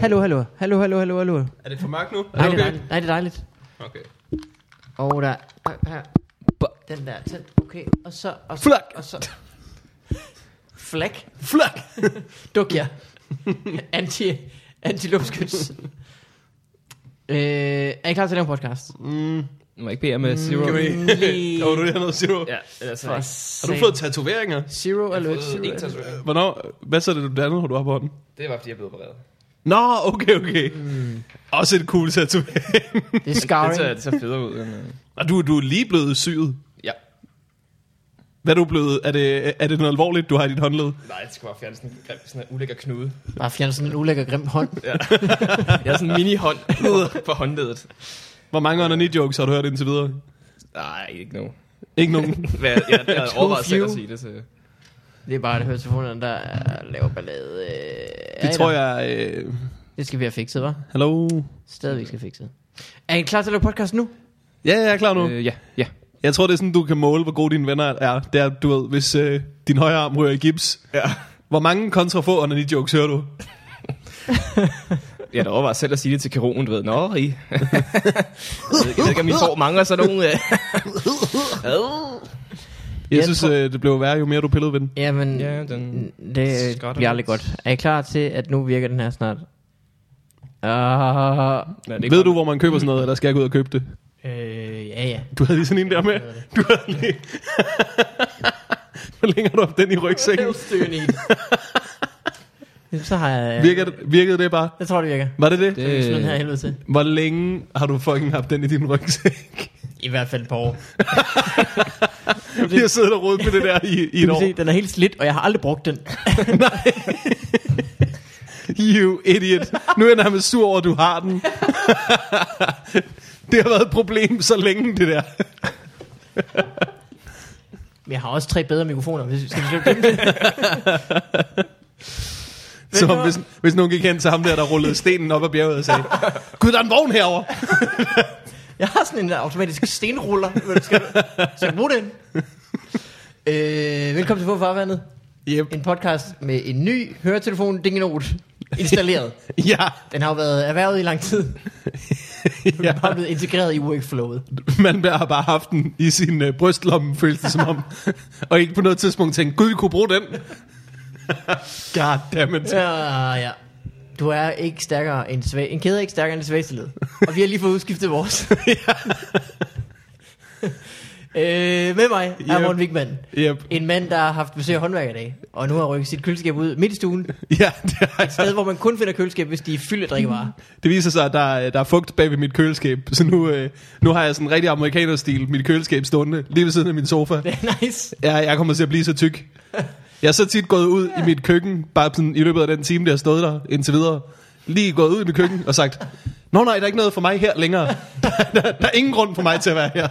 Hallo, hallo, hallo, hallo, hallo, hallo. Er det for mørkt nu? Nej, er det det er okay? dejligt. Nej, det er dejligt. okay. Og der her, her, den der tænd. Okay, og så... Og så, Flak. Og så, flak. Flak! Duk jer. Anti, antilupskyts. øh, er I klar til at lave en podcast? Mm, Du må ikke bede med Zero. kan vi... Only- Åh, du er noget, Zero. Ja, altså, For Har du fået tatoveringer? Zero alert. Zero ikke alert. tatovering. Hvornår? Hvad så er det, du andet, har du har på hånden? Det var, fordi jeg blev opereret. Nå, okay, okay. Mm. Også et cool tatovering. Det er Det scarring. ser, det ser federe ud. End, øh. Og du, du er lige blevet syet. ja. Hvad er du blevet? Er det, er det noget alvorligt, du har i dit håndled? Nej, det skal bare fjerne sådan en grim, sådan en ulækker knude. Bare fjerne sådan en ulækker grim hånd. Jeg har sådan en mini-hånd på håndledet. Hvor mange under jokes har du hørt indtil videre? Nej, ikke nu. Ikke nogen. Hvad, jeg, jeg, jeg Too overvejede selv at few. sige det til... Det er bare det høretelefonerne, der laver ballade. Øh, er I Det tror der? jeg... Øh, Det skal vi have fikset, hva'? hallo? Stadigvæk skal fikset. Er I klar til at lave podcast nu? Ja, jeg er klar nu. Øh, ja, ja. Jeg tror, det er sådan, du kan måle, hvor gode dine venner er. Det er, du ved, hvis øh, din højre arm rører i gips. Ja. Hvor mange kontra få under jokes hører du? Jeg overvejede selv at sige det til kirurgen, du ved. Nå, I... jeg, ved, ikke- jeg ved ikke, om I får mange af sådan nogle... øh. Ad. Jeg, Jeg synes, tror- øh, det blev værre, jo mere du pillede ved den. Jamen, Ja, den det øh, skotter bliver aldrig lidt. godt. Er I klar til, at nu virker den her snart? Ah. Uh, Nej, det er Ved du, hvor man køber sådan noget, eller skal jeg gå ud og købe det? øh, ja, ja. Du havde lige sådan en der med. Du havde lige... hvor længe har du haft den i rygsækken? Jamen, Så har jeg... Virkede, virkede det bare? Jeg tror, det virker. Var det det? Det er sådan her helvede til. Hvor længe har du fucking haft den i din rygsæk? I hvert fald et par år. Vi har siddet og rodet med det der i, i et Du kan år. se, den er helt slidt, og jeg har aldrig brugt den. Nej. you idiot. Nu er jeg nærmest sur over, at du har den. det har været et problem så længe, det der. Men jeg har også tre bedre mikrofoner, hvis vi skal beslutte dem. Så hvis, hvis nogen gik hen til ham der, der rullede stenen op ad bjerget og sagde, Gud, der er en vogn herover. Jeg har sådan en automatisk stenruller. Skal, skal jeg bruge den? Øh, velkommen til Få Farvandet. Yep. En podcast med en ny høretelefon, Dingenot, installeret. Ja, Den har jo været erhvervet i lang tid. Den ja. er bare blevet integreret i workflowet. Man har bare haft den i sin øh, brystlomme, føles det som om. og ikke på noget tidspunkt tænkt, Gud, vi kunne bruge den. God damn it. Ja, ja. Du er ikke stærkere end svag. En kæde er ikke stærkere end det svageste led. Og vi har lige fået udskiftet vores. øh, med mig er Yep. Morten Wigman. Yep. En mand, der har haft besøg af håndværk i dag, og nu har rykket sit køleskab ud midt i stuen. Et Ja, det altså- har jeg. sted, hvor man kun finder køleskab, hvis de er fyldt af drikkevarer. Det viser sig, at der, er- der er fugt bag ved mit køleskab, så nu, øh, nu har jeg sådan en rigtig amerikanerstil, mit køleskab stående lige ved siden af min sofa. Det er nice. Jeg, jeg kommer til at blive så tyk. Jeg er så tit gået ud i mit køkken, bare sådan i løbet af den time, der har stået der indtil videre, lige gået ud i mit køkken og sagt, Nå nej, der er ikke noget for mig her længere. Der, der, der er ingen grund for mig til at være her.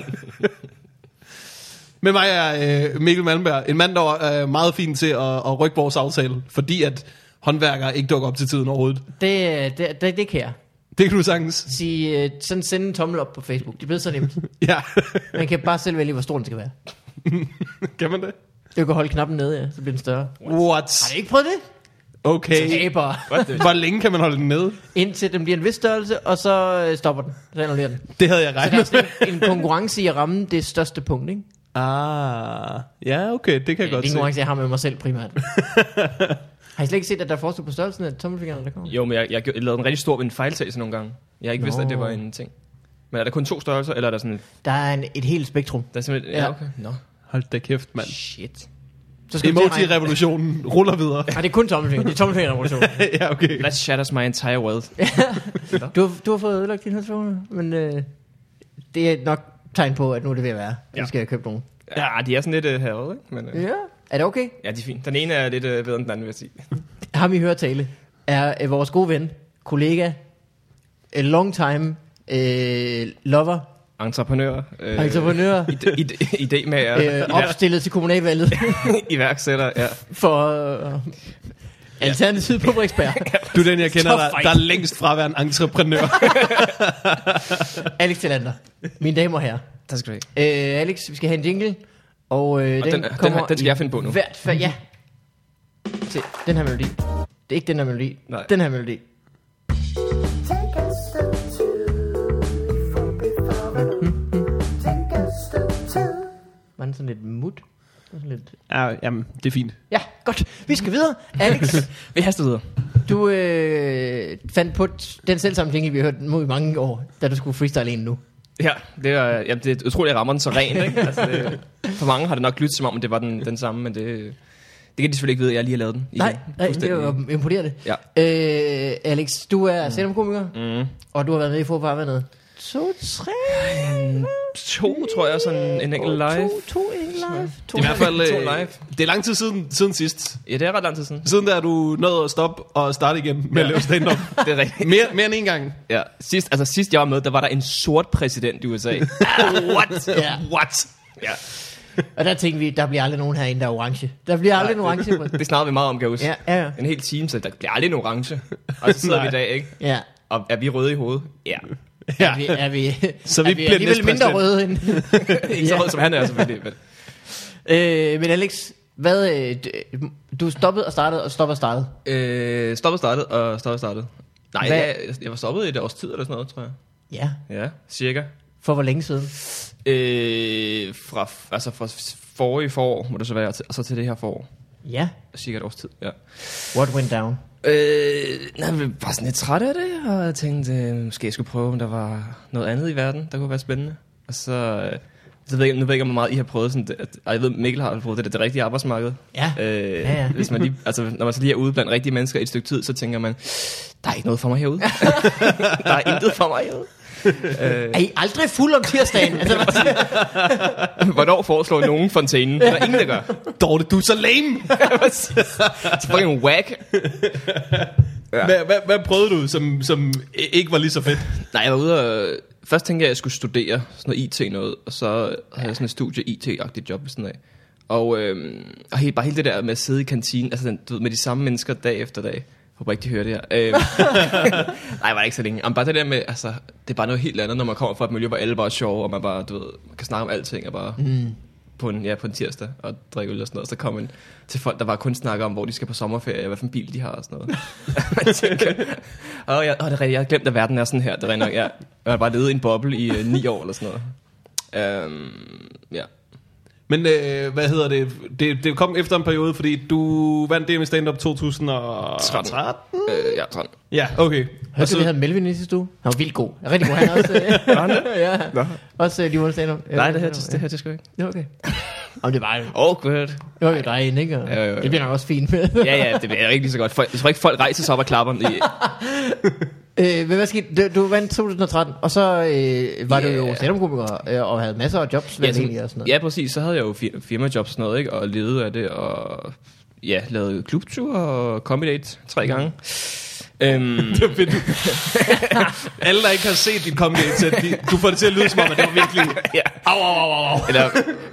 Med mig er øh, Mikkel Malmberg, en mand, der er øh, meget fin til at, at rykke vores aftale, fordi at håndværkere ikke dukker op til tiden overhovedet. Det, det, det, det kan jeg. Det kan du sagtens. Sige, øh, sådan sende en tommel op på Facebook. Det er blevet så nemt. Ja. Man kan bare selv vælge, hvor stor den skal være. Kan man det? Du kan holde knappen nede, ja, så bliver den større. What? Har du ikke prøvet det? Okay. Aber. Hvor længe kan man holde den nede? Indtil den bliver en vis størrelse, og så øh, stopper den. Så annullerer den. Så Det havde jeg der er regnet med. sådan en, en konkurrence i at ramme det største punkt, ikke? Ah, ja, okay, det kan jeg Det er en godt se. konkurrence, jeg har med mig selv primært. har I slet ikke set, at der er forskel på størrelsen af tommelfingrene, der kommer? Jo, men jeg, jeg, gjorde- jeg lavede en rigtig stor en fejltagelse nogle gange. Jeg har ikke vidst, Nå. at det var en ting. Men er der kun to størrelser, eller er der sådan... Der er en, et helt spektrum. Der er simpelthen... Ja, Ja. okay. Nå, Hold da kæft, mand. shit. Så du til at regne- Emoji-revolutionen ruller videre. Nej, det er kun tommelfingre. Det er tommelfingerrevolution. ja, okay. That shatters my entire world. du, har, du har fået ødelagt dine høretelefoner, men øh, det er nok tegn på, at nu er det ved at være. Ja. Ja. Nu skal jeg købe nogen. Ja, de er sådan lidt øh, herovre, ikke? Men, øh, Ja. Er det okay? ja, de er fint. Den ene er lidt øh, bedre end den anden, vil jeg sige. Ham i høretale er øh, vores gode ven, kollega, a long time øh, lover, Entreprenør. Øh, entreprenør, ide- ide- Idémager. øh, iværk- opstillet til kommunalvalget iværksætter, ja. for øh, Alternativet på Frederiksberg. Du er den, jeg kender, Tough der, fight. der er længst fra at være en entreprenør. Alex Tillander, mine damer og herrer. Der skal du ikke. Øh, Alex, vi skal have en jingle, og, øh, Og den, den, kommer den, den skal jeg finde på i nu. hvert fald, ja. Se, den her melodi. Det er ikke den her melodi. Nej. Den her melodi. han sådan lidt mut. Sådan lidt... Ja, jamen, det er fint. Ja, godt. Vi skal videre. Alex, Vi haster videre. du øh, fandt på t- den selv samme ting, vi har hørt mod i mange år, da du skulle freestyle en nu. Ja, det er, jamen, det er utroligt, at jeg rammer den så rent. Ikke? Altså, det, for mange har det nok lyttet som om, at det var den, den samme, men det, det kan de selvfølgelig ikke vide, at jeg lige har lavet den. Igen. Nej, nej, det Fuldstændig. var imponerende. Ja. Øh, Alex, du er mm. stand-up-komiker, Mm. og du har været med i Forfarvandet. To, tre... To, tror jeg, sådan en enkelt live. To, to en live. To I hvert fald To øh, live. Det er lang tid siden, siden sidst. Ja, det er ret lang tid siden. Siden der er du nået at stoppe og starte igen med ja. at lave stand-up. Det er rigtigt. Mere, mere end en gang. Ja. Sidst, altså, sidst jeg var med, der var der en sort præsident i USA. What? Ja. What? Ja. Og der tænkte vi, der bliver aldrig nogen herinde, der er orange. Der bliver aldrig en orange. på- Det snakker vi meget om, kan jeg huske. Ja, ja, ja. En hel time, så der bliver aldrig en orange. Og så sidder vi i dag, ikke? ja. Og er vi røde i hovedet? Ja. Er vi, er vi, Så vi er vi bliver alligevel næstpræsident. mindre røde end... Ikke så Ja. rød, som han er, selvfølgelig. Men Øh, men Alex, hvad, øh, d- du stoppede og startede og stoppede og startede. Øh, stoppet startet og stoppet startet. Nej, Hvad- jeg, jeg var stoppet i et års tid eller sådan noget, tror jeg. Ja, Ja, cirka. for hvor længe siden? Øh, fra, altså fra forrige forår, må det så være, og til- og så til det her forår. Ja, Cirka et års tid, ja. what went down? Øh, nej, jeg var sådan lidt træt af det, og jeg tænkte, øh, måske jeg skulle prøve, om der var noget andet i verden, der kunne være spændende. Og så, øh, så ved jeg, nu ved jeg ikke, hvor meget I har prøvet sådan, det- at, og jeg ved, Mikkel har prøvet det, det, det rigtige arbejdsmarked. Ja. Øh, Ja, ja. Hvis man lige, altså, når man så lige er ude blandt rigtige mennesker i et stykke tid, så tænker man, der er ikke noget for mig herude. der er intet for mig herude. Er I aldrig fuld om tirsdagen? altså, hvad siger du? Hvornår foreslår nogen fontænen? Der er ingen, der gør. Dorte, du er så lame! Præcis. Så fucking whack. Ja. Hvad, hvad, hvad prøvede du, som, som i- ikke var lige så fedt? Nej, jeg var ude og... Først tænkte jeg, at jeg skulle studere sådan noget IT noget, og så havde jeg sådan et studie IT-agtigt job ved siden af. Og, øhm, og helt, bare hele det der med at sidde i kantinen, altså den, du ved, med de samme mennesker dag efter dag. Jeg håber ikke, de hører det her. Øhm, nej, var det ikke så længe. Men bare det der med, altså, det er bare noget helt andet, når man kommer fra et miljø, hvor alle bare er sjove, og man bare, du ved, man kan snakke om alting, og bare mm. på, en, ja, på en tirsdag og drikke øl og sådan noget. Så kommer man til folk, der bare kun snakker om, hvor de skal på sommerferie, og hvad for en bil de har og sådan noget. man tænker, åh, jeg, åh, det er rigtigt, jeg har glemt, at verden er sådan her. Det er rigtigt nok, ja. Jeg har bare levet i en boble i øh, ni år eller sådan noget. Øhm, ja. Men øh, hvad hedder det? det? Det kom efter en periode, fordi du vandt DM i stand-up 2013. 13? Øh, ja, 13. Ja, okay. Hørte du, vi havde Melvin i sidste uge? Han var vildt god. Han var Rigtig god. Han er også... Øh, ja. Nå. Også øh, de måtte stand Nej, det her, det, det her, det skal jeg ikke. Oh, Ja, okay. Om det var jo... Awkward. Det var jo dig ind, ikke? Og Jo, jo, jo. Det bliver nok også fint med. Ja, ja, det er ikke lige så godt. Folk, jeg tror ikke, folk rejser sig op og klapper. I, øh, men hvad skete? Du, du vandt 2013, og så øh, var yeah. du jo Ja. stand-up-komiker, øh, og havde masser af jobs, vel ja, egentlig, sådan, og sådan noget. ja, præcis. Så havde jeg jo fir- firmajob og sådan noget, ikke? Og levede af det, og ja, lavede klubtur og comedy date tre gange. Øhm, Det er fedt. Alle, der ikke har set dit comedy set, de, du får det til at lyde som om, at det var virkelig... ja. Au, au, au, au. Eller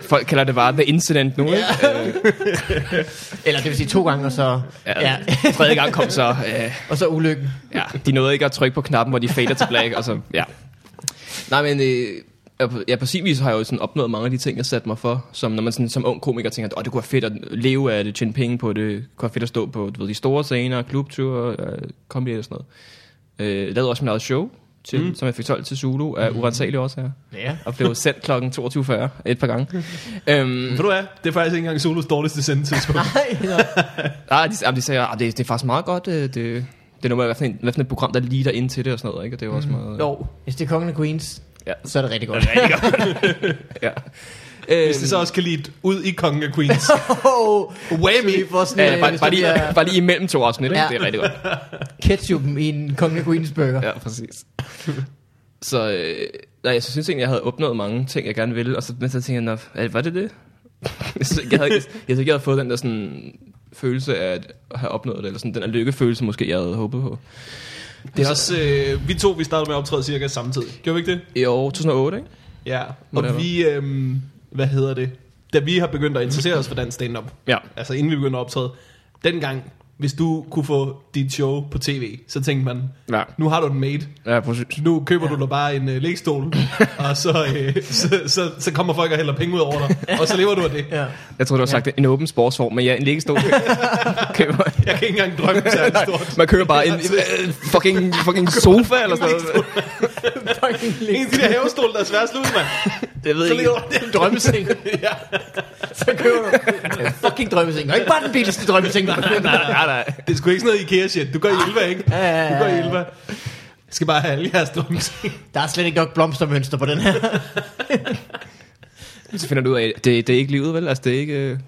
folk kalder det bare The Incident nu, ikke? Øh, Eller det vil sige to gange, og så... ja, ja. Tredje gang kom så... Øh, Og så ulykken. Ja, de nåede ikke at trykke på knappen, hvor de fader til black, og så, ja. Nej, men øh, ja, på- ja, på sin vis har jeg jo sådan opnået mange af de ting, jeg satte mig for, som når man sådan, som ung komiker tænker, at oh, det kunne være fedt at leve af det, tjene penge på det, det kunne være fedt at stå på du ved, de store scener, klubture, øh, comedy og sådan noget. Øh, jeg lavede også mit eget show, til, mm. som jeg fik solgt til Zulu af urensagelige årsager, Ja. og blev sendt kl. 22.40 et par gange. øhm, Ved du hvad? Det er faktisk ikke engang Solos dårligste sendetidspunkt. Nej, nå. Nej, ah, de, jamen, de sagde, at det, det er faktisk meget godt, øh, det, det er noget med, hvad for en- hvad for et program, der lige der ind til det og sådan noget, ikke? Og det er jo også meget... Jo, hvis det er kongen af Queens, Ja. så er det rigtig godt. ja. Øhm, Hvis det så også kan lide ud i Kongen af Queens. Oh, Whammy! for sådan, ja, øh, bare, hvis bare, der lige, bliver bare lige imellem to afsnit, ikke? Ja. Ja. det er rigtig godt. ketchupen i en kongen af Queens burger. Ja, præcis. så øh, nej, jeg synes egentlig, jeg havde opnået mange ting, jeg gerne ville, og så, men så tænkte jeg, "Nå, er det- var det det? jeg synes ikke, jeg havde, jeg, synes ikke, jeg havde fået den der sådan, følelse af at have opnået det, eller sådan den der lykkefølelse, måske jeg havde håbet på. Det er også, øh, vi to vi startede med at optræde cirka samtidig. Gjorde vi ikke det? I år 2008, ikke? Ja. Og Whatever. vi, øh, hvad hedder det? Da vi har begyndt at interessere os for dansk stand-up, Ja. altså inden vi begyndte at optræde, dengang, hvis du kunne få dit show på tv, så tænkte man, Ja. nu har du den made. Ja, præcis. Nu køber ja. du dig bare en øh, lægstol, og så, øh, så, så, så kommer folk og hælder penge ud over dig, og så lever du af det. Ja. Jeg tror du har sagt ja. en åben sportsform, men ja, en liggestol køber. Jeg kan ikke engang drømme særlig stort. Man køber bare en øh, fucking, fucking sofa eller sådan noget. Fucking En af de der havestol, der er svært slut, mand. Jeg ved Så ikke. lever du af det. drømmeseng. Ja. Så køber du en fucking drømmeseng. Og ikke bare den billigste drømmeseng. du kan finde. Nej, nej. Det er sgu ikke sådan noget IKEA-shit. Du går i Elva, ikke? Ah. Ja, ja, ja, Du går i ja. Elva. Jeg skal bare have alle jeres drømmeting. Der er slet ikke nok blomstermønster på den her. Så finder du ud af, at det, det er ikke livet, vel? Altså, det er ikke... øh,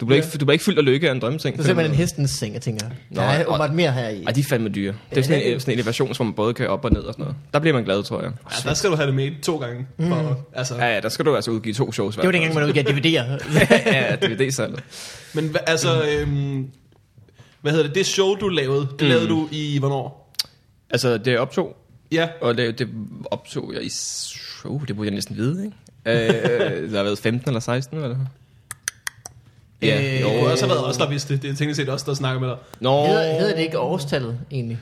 Du bliver, ikke, du bliver ikke fyldt af lykke af en drømmeseng. Så ser man en hestens seng, jeg tænker. Der Nå, er og- åbenbart mere her i. Ej, de er fandme dyre. Det er sådan en, sådan en elevation, hvor man både kan op og ned og sådan noget. Der bliver man glad, tror jeg. Ja, der skal du have det med to gange. For, Mm. altså. Ja, ja, der skal du altså udgive to shows. Det var dengang, man udgav DVD'er. ja, DVD-salget. Men hva- altså, øhm, hvad hedder det? Det show, du lavede, det lavede du i hvornår? Altså, det jeg optog, Ja, og det, det optog jeg i... s- Uh, det burde jeg næsten vide, ikke? Øh, der har været 15 eller 16, eller? Ja, Øh, øh, det kunne jo, også altså. have været os, der vidste det. Det er teknisk set også der snakker med dig. Nå, Hedder, hedder det ikke årstallet, egentlig?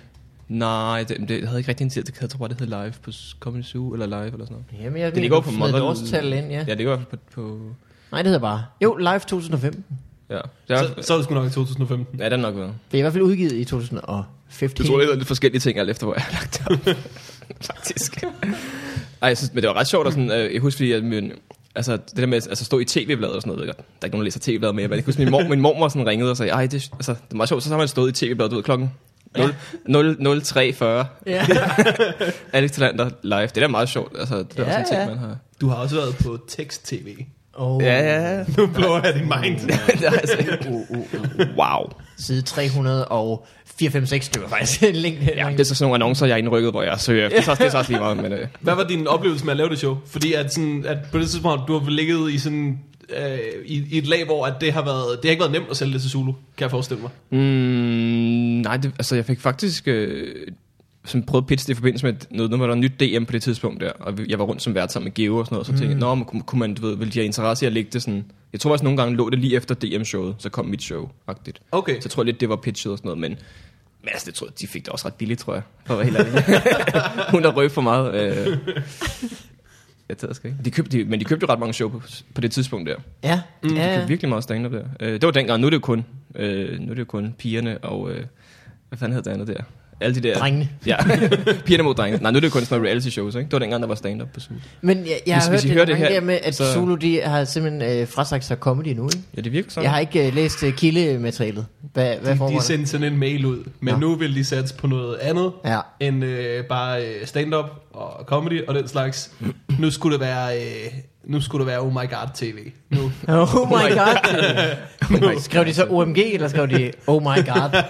nej, det, det havde ikke rigtig en tid. Det jeg tror bare, det hed live på s- Comedy Zoo, eller live, eller sådan noget. Jamen, jeg Det ved ligger ikke, på hvorfor et Mother- årstal ind, ja. Ja, det ligger i hvert fald på... på Nej, det hedder bare. Jo, Live 2015. ja. Det er, Så, så er det sgu nok i 2015. ja, det er nok været. Det er i hvert fald udgivet i 2015. Det tror jeg, det er lidt forskellige ting, alt efter, hvor jeg har lagt det op. Faktisk. Ej, jeg synes, men det var ret sjovt, og sådan, øh, jeg husker, fordi jeg, min, altså, det der med at altså, stå i tv-bladet og sådan noget, ved jeg godt. der er ikke nogen, der læser tv-bladet mere, men jeg kan huske, min, mor, min mormor sådan ringede og sagde, ej, det, er- altså, det er meget sjovt, så har man stået i tv-bladet, du ved, klokken 0, 0, 0340, Ja. Alex Talander live, det er da meget sjovt, altså, det er ja, Ja, også en ting, ja. man har. Du har også været på tekst-tv. Oh. Ja, ja, ja. Nu blower jeg din mind. det er altså, ikke- Uh, uh, uh. wow. Side 394, det var faktisk en link. Ja, det er så sådan nogle annoncer, jeg har indrykket, hvor jeg søger. efter. Det er så også, det er så også lige meget, men øh, Hvad var din oplevelse med at lave det show? Fordi at, sådan, at på det tidspunkt, du har vel ligget i sådan... Øh, i, i, et lag, hvor at det, har været, det har ikke været nemt at sælge det til Zulu, kan jeg forestille mig. Mm, nej, det, altså jeg fik faktisk øh, sådan prøvet at pitche det i forbindelse med at noget, nu var der nyt DM på det tidspunkt der, og vi- jeg var rundt som vært sammen med Geo og sådan noget, og så tænkte jeg, nå, men kunne, kunne man, du ved, ville de have interesse i at lægge det sådan, jeg tror faktisk nogle gange lå det lige efter DM-showet, så kom mit show, agtigt. Okay. Så jeg tror lidt, det var pitchet og sådan noget, men, men altså, det tror jeg, de fik det også ret billigt, tror jeg, for at være helt ærlig. Hun har røbt for meget. Øh, jeg tager sgu ikke. De købte, de, men de købte jo ret mange show på, på det tidspunkt der. Ja, mm, Ja. ja. Det kan virkelig meget stand-up der. Øh, det var dengang, nu er det jo kun, øh, nu er det jo kun pigerne og, øh, hvad fanden hed det andet der? Alle de der... Drengene. Ja, pigerne mod drengene. Nej, nu er det jo kun sådan noget reality shows, ikke? Det var dengang, der var stand-up på Zulu. Men jeg, jeg har Hvis- hørt hvis I det, hører det det her, her, der med, at så- Zulu de har simpelthen øh, frasagt sig comedy nu. Ikke? Ja, det virker sådan. Jeg har ikke øh, læst øh, kildematerialet. Hvad, hvad foregår De der? sendte sådan en mail ud, men Nå. ja. nu vil de satse på noget andet, Ja. end øh, bare øh, stand-up og comedy og den slags. Nu skulle det være, øh, nu skulle det være Oh My God TV. Nu. Oh my Oh god. skrev de så OMG, eller skrev de Oh my god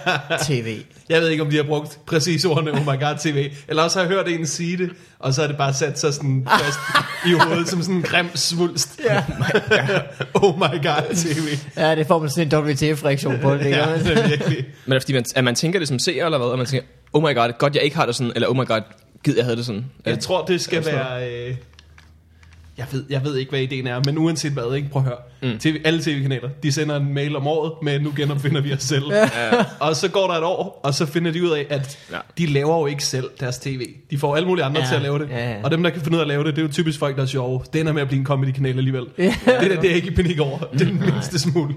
TV? Jeg ved ikke, om de har brugt præcis ordene Oh My God TV, eller også har jeg hørt en sige det, og så har det bare sat sig sådan fast i hovedet som sådan en grim svulst. Ja. oh My God TV. Ja, det får man sådan en WTF-reaktion på. Det, Ja, ja. det er virkelig. Men er det fordi, man, at man tænker det som seer eller hvad? Og man tænker, oh my god, godt jeg ikke har det sådan, eller oh my god, gid jeg havde det sådan. Øh, Jeg tror, det skal være... Øh, jeg, ved, jeg ved ikke, hvad ideen er, men uanset hvad, ikke? prøv at høre. Mm. TV, alle tv-kanaler, de sender en mail om året med, nu genopfinder vi os selv. og så går der et år, og så finder de ud af, at Ja. ja. de laver jo ikke selv deres tv. De får alle mulige andre Ja, til at lave det. ja, ja. Og dem, der kan finde ud af at lave det, det er jo typisk folk, der er sjove. Det ender med at blive en comedy-kanal alligevel. det der, det er jeg ikke i panik over. Det er den mindste smule.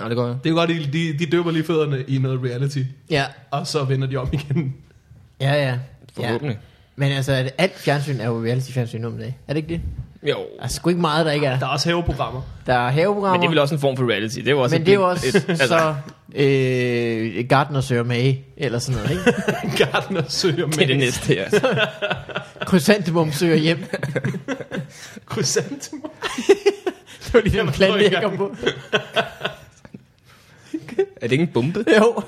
Ja, det går jeg. Det er jo godt, de, de, de døber lige fødderne i noget reality, ja, og så vender de om igen. ja, ja. ja. Forhåbentlig. Men altså, at alt fjernsyn er jo reality-fjernsyn om dagen. Er det ikke det? Jo. Der er sgu ikke meget, der ikke er. Der er også haveprogrammer. Der er Men det er haveprogrammer, vel også en form for reality. Det er jo også men et det er blik- jo også et- altså, så øh, Gardner søger med, eller sådan noget, ikke? Gardner søger det er det med næste, ja. Krysantemum søger hjem. krysantemum. Det var lige den Jamen, plan, prøv jeg igen. kom på. Er det ikke en bombe? Jo.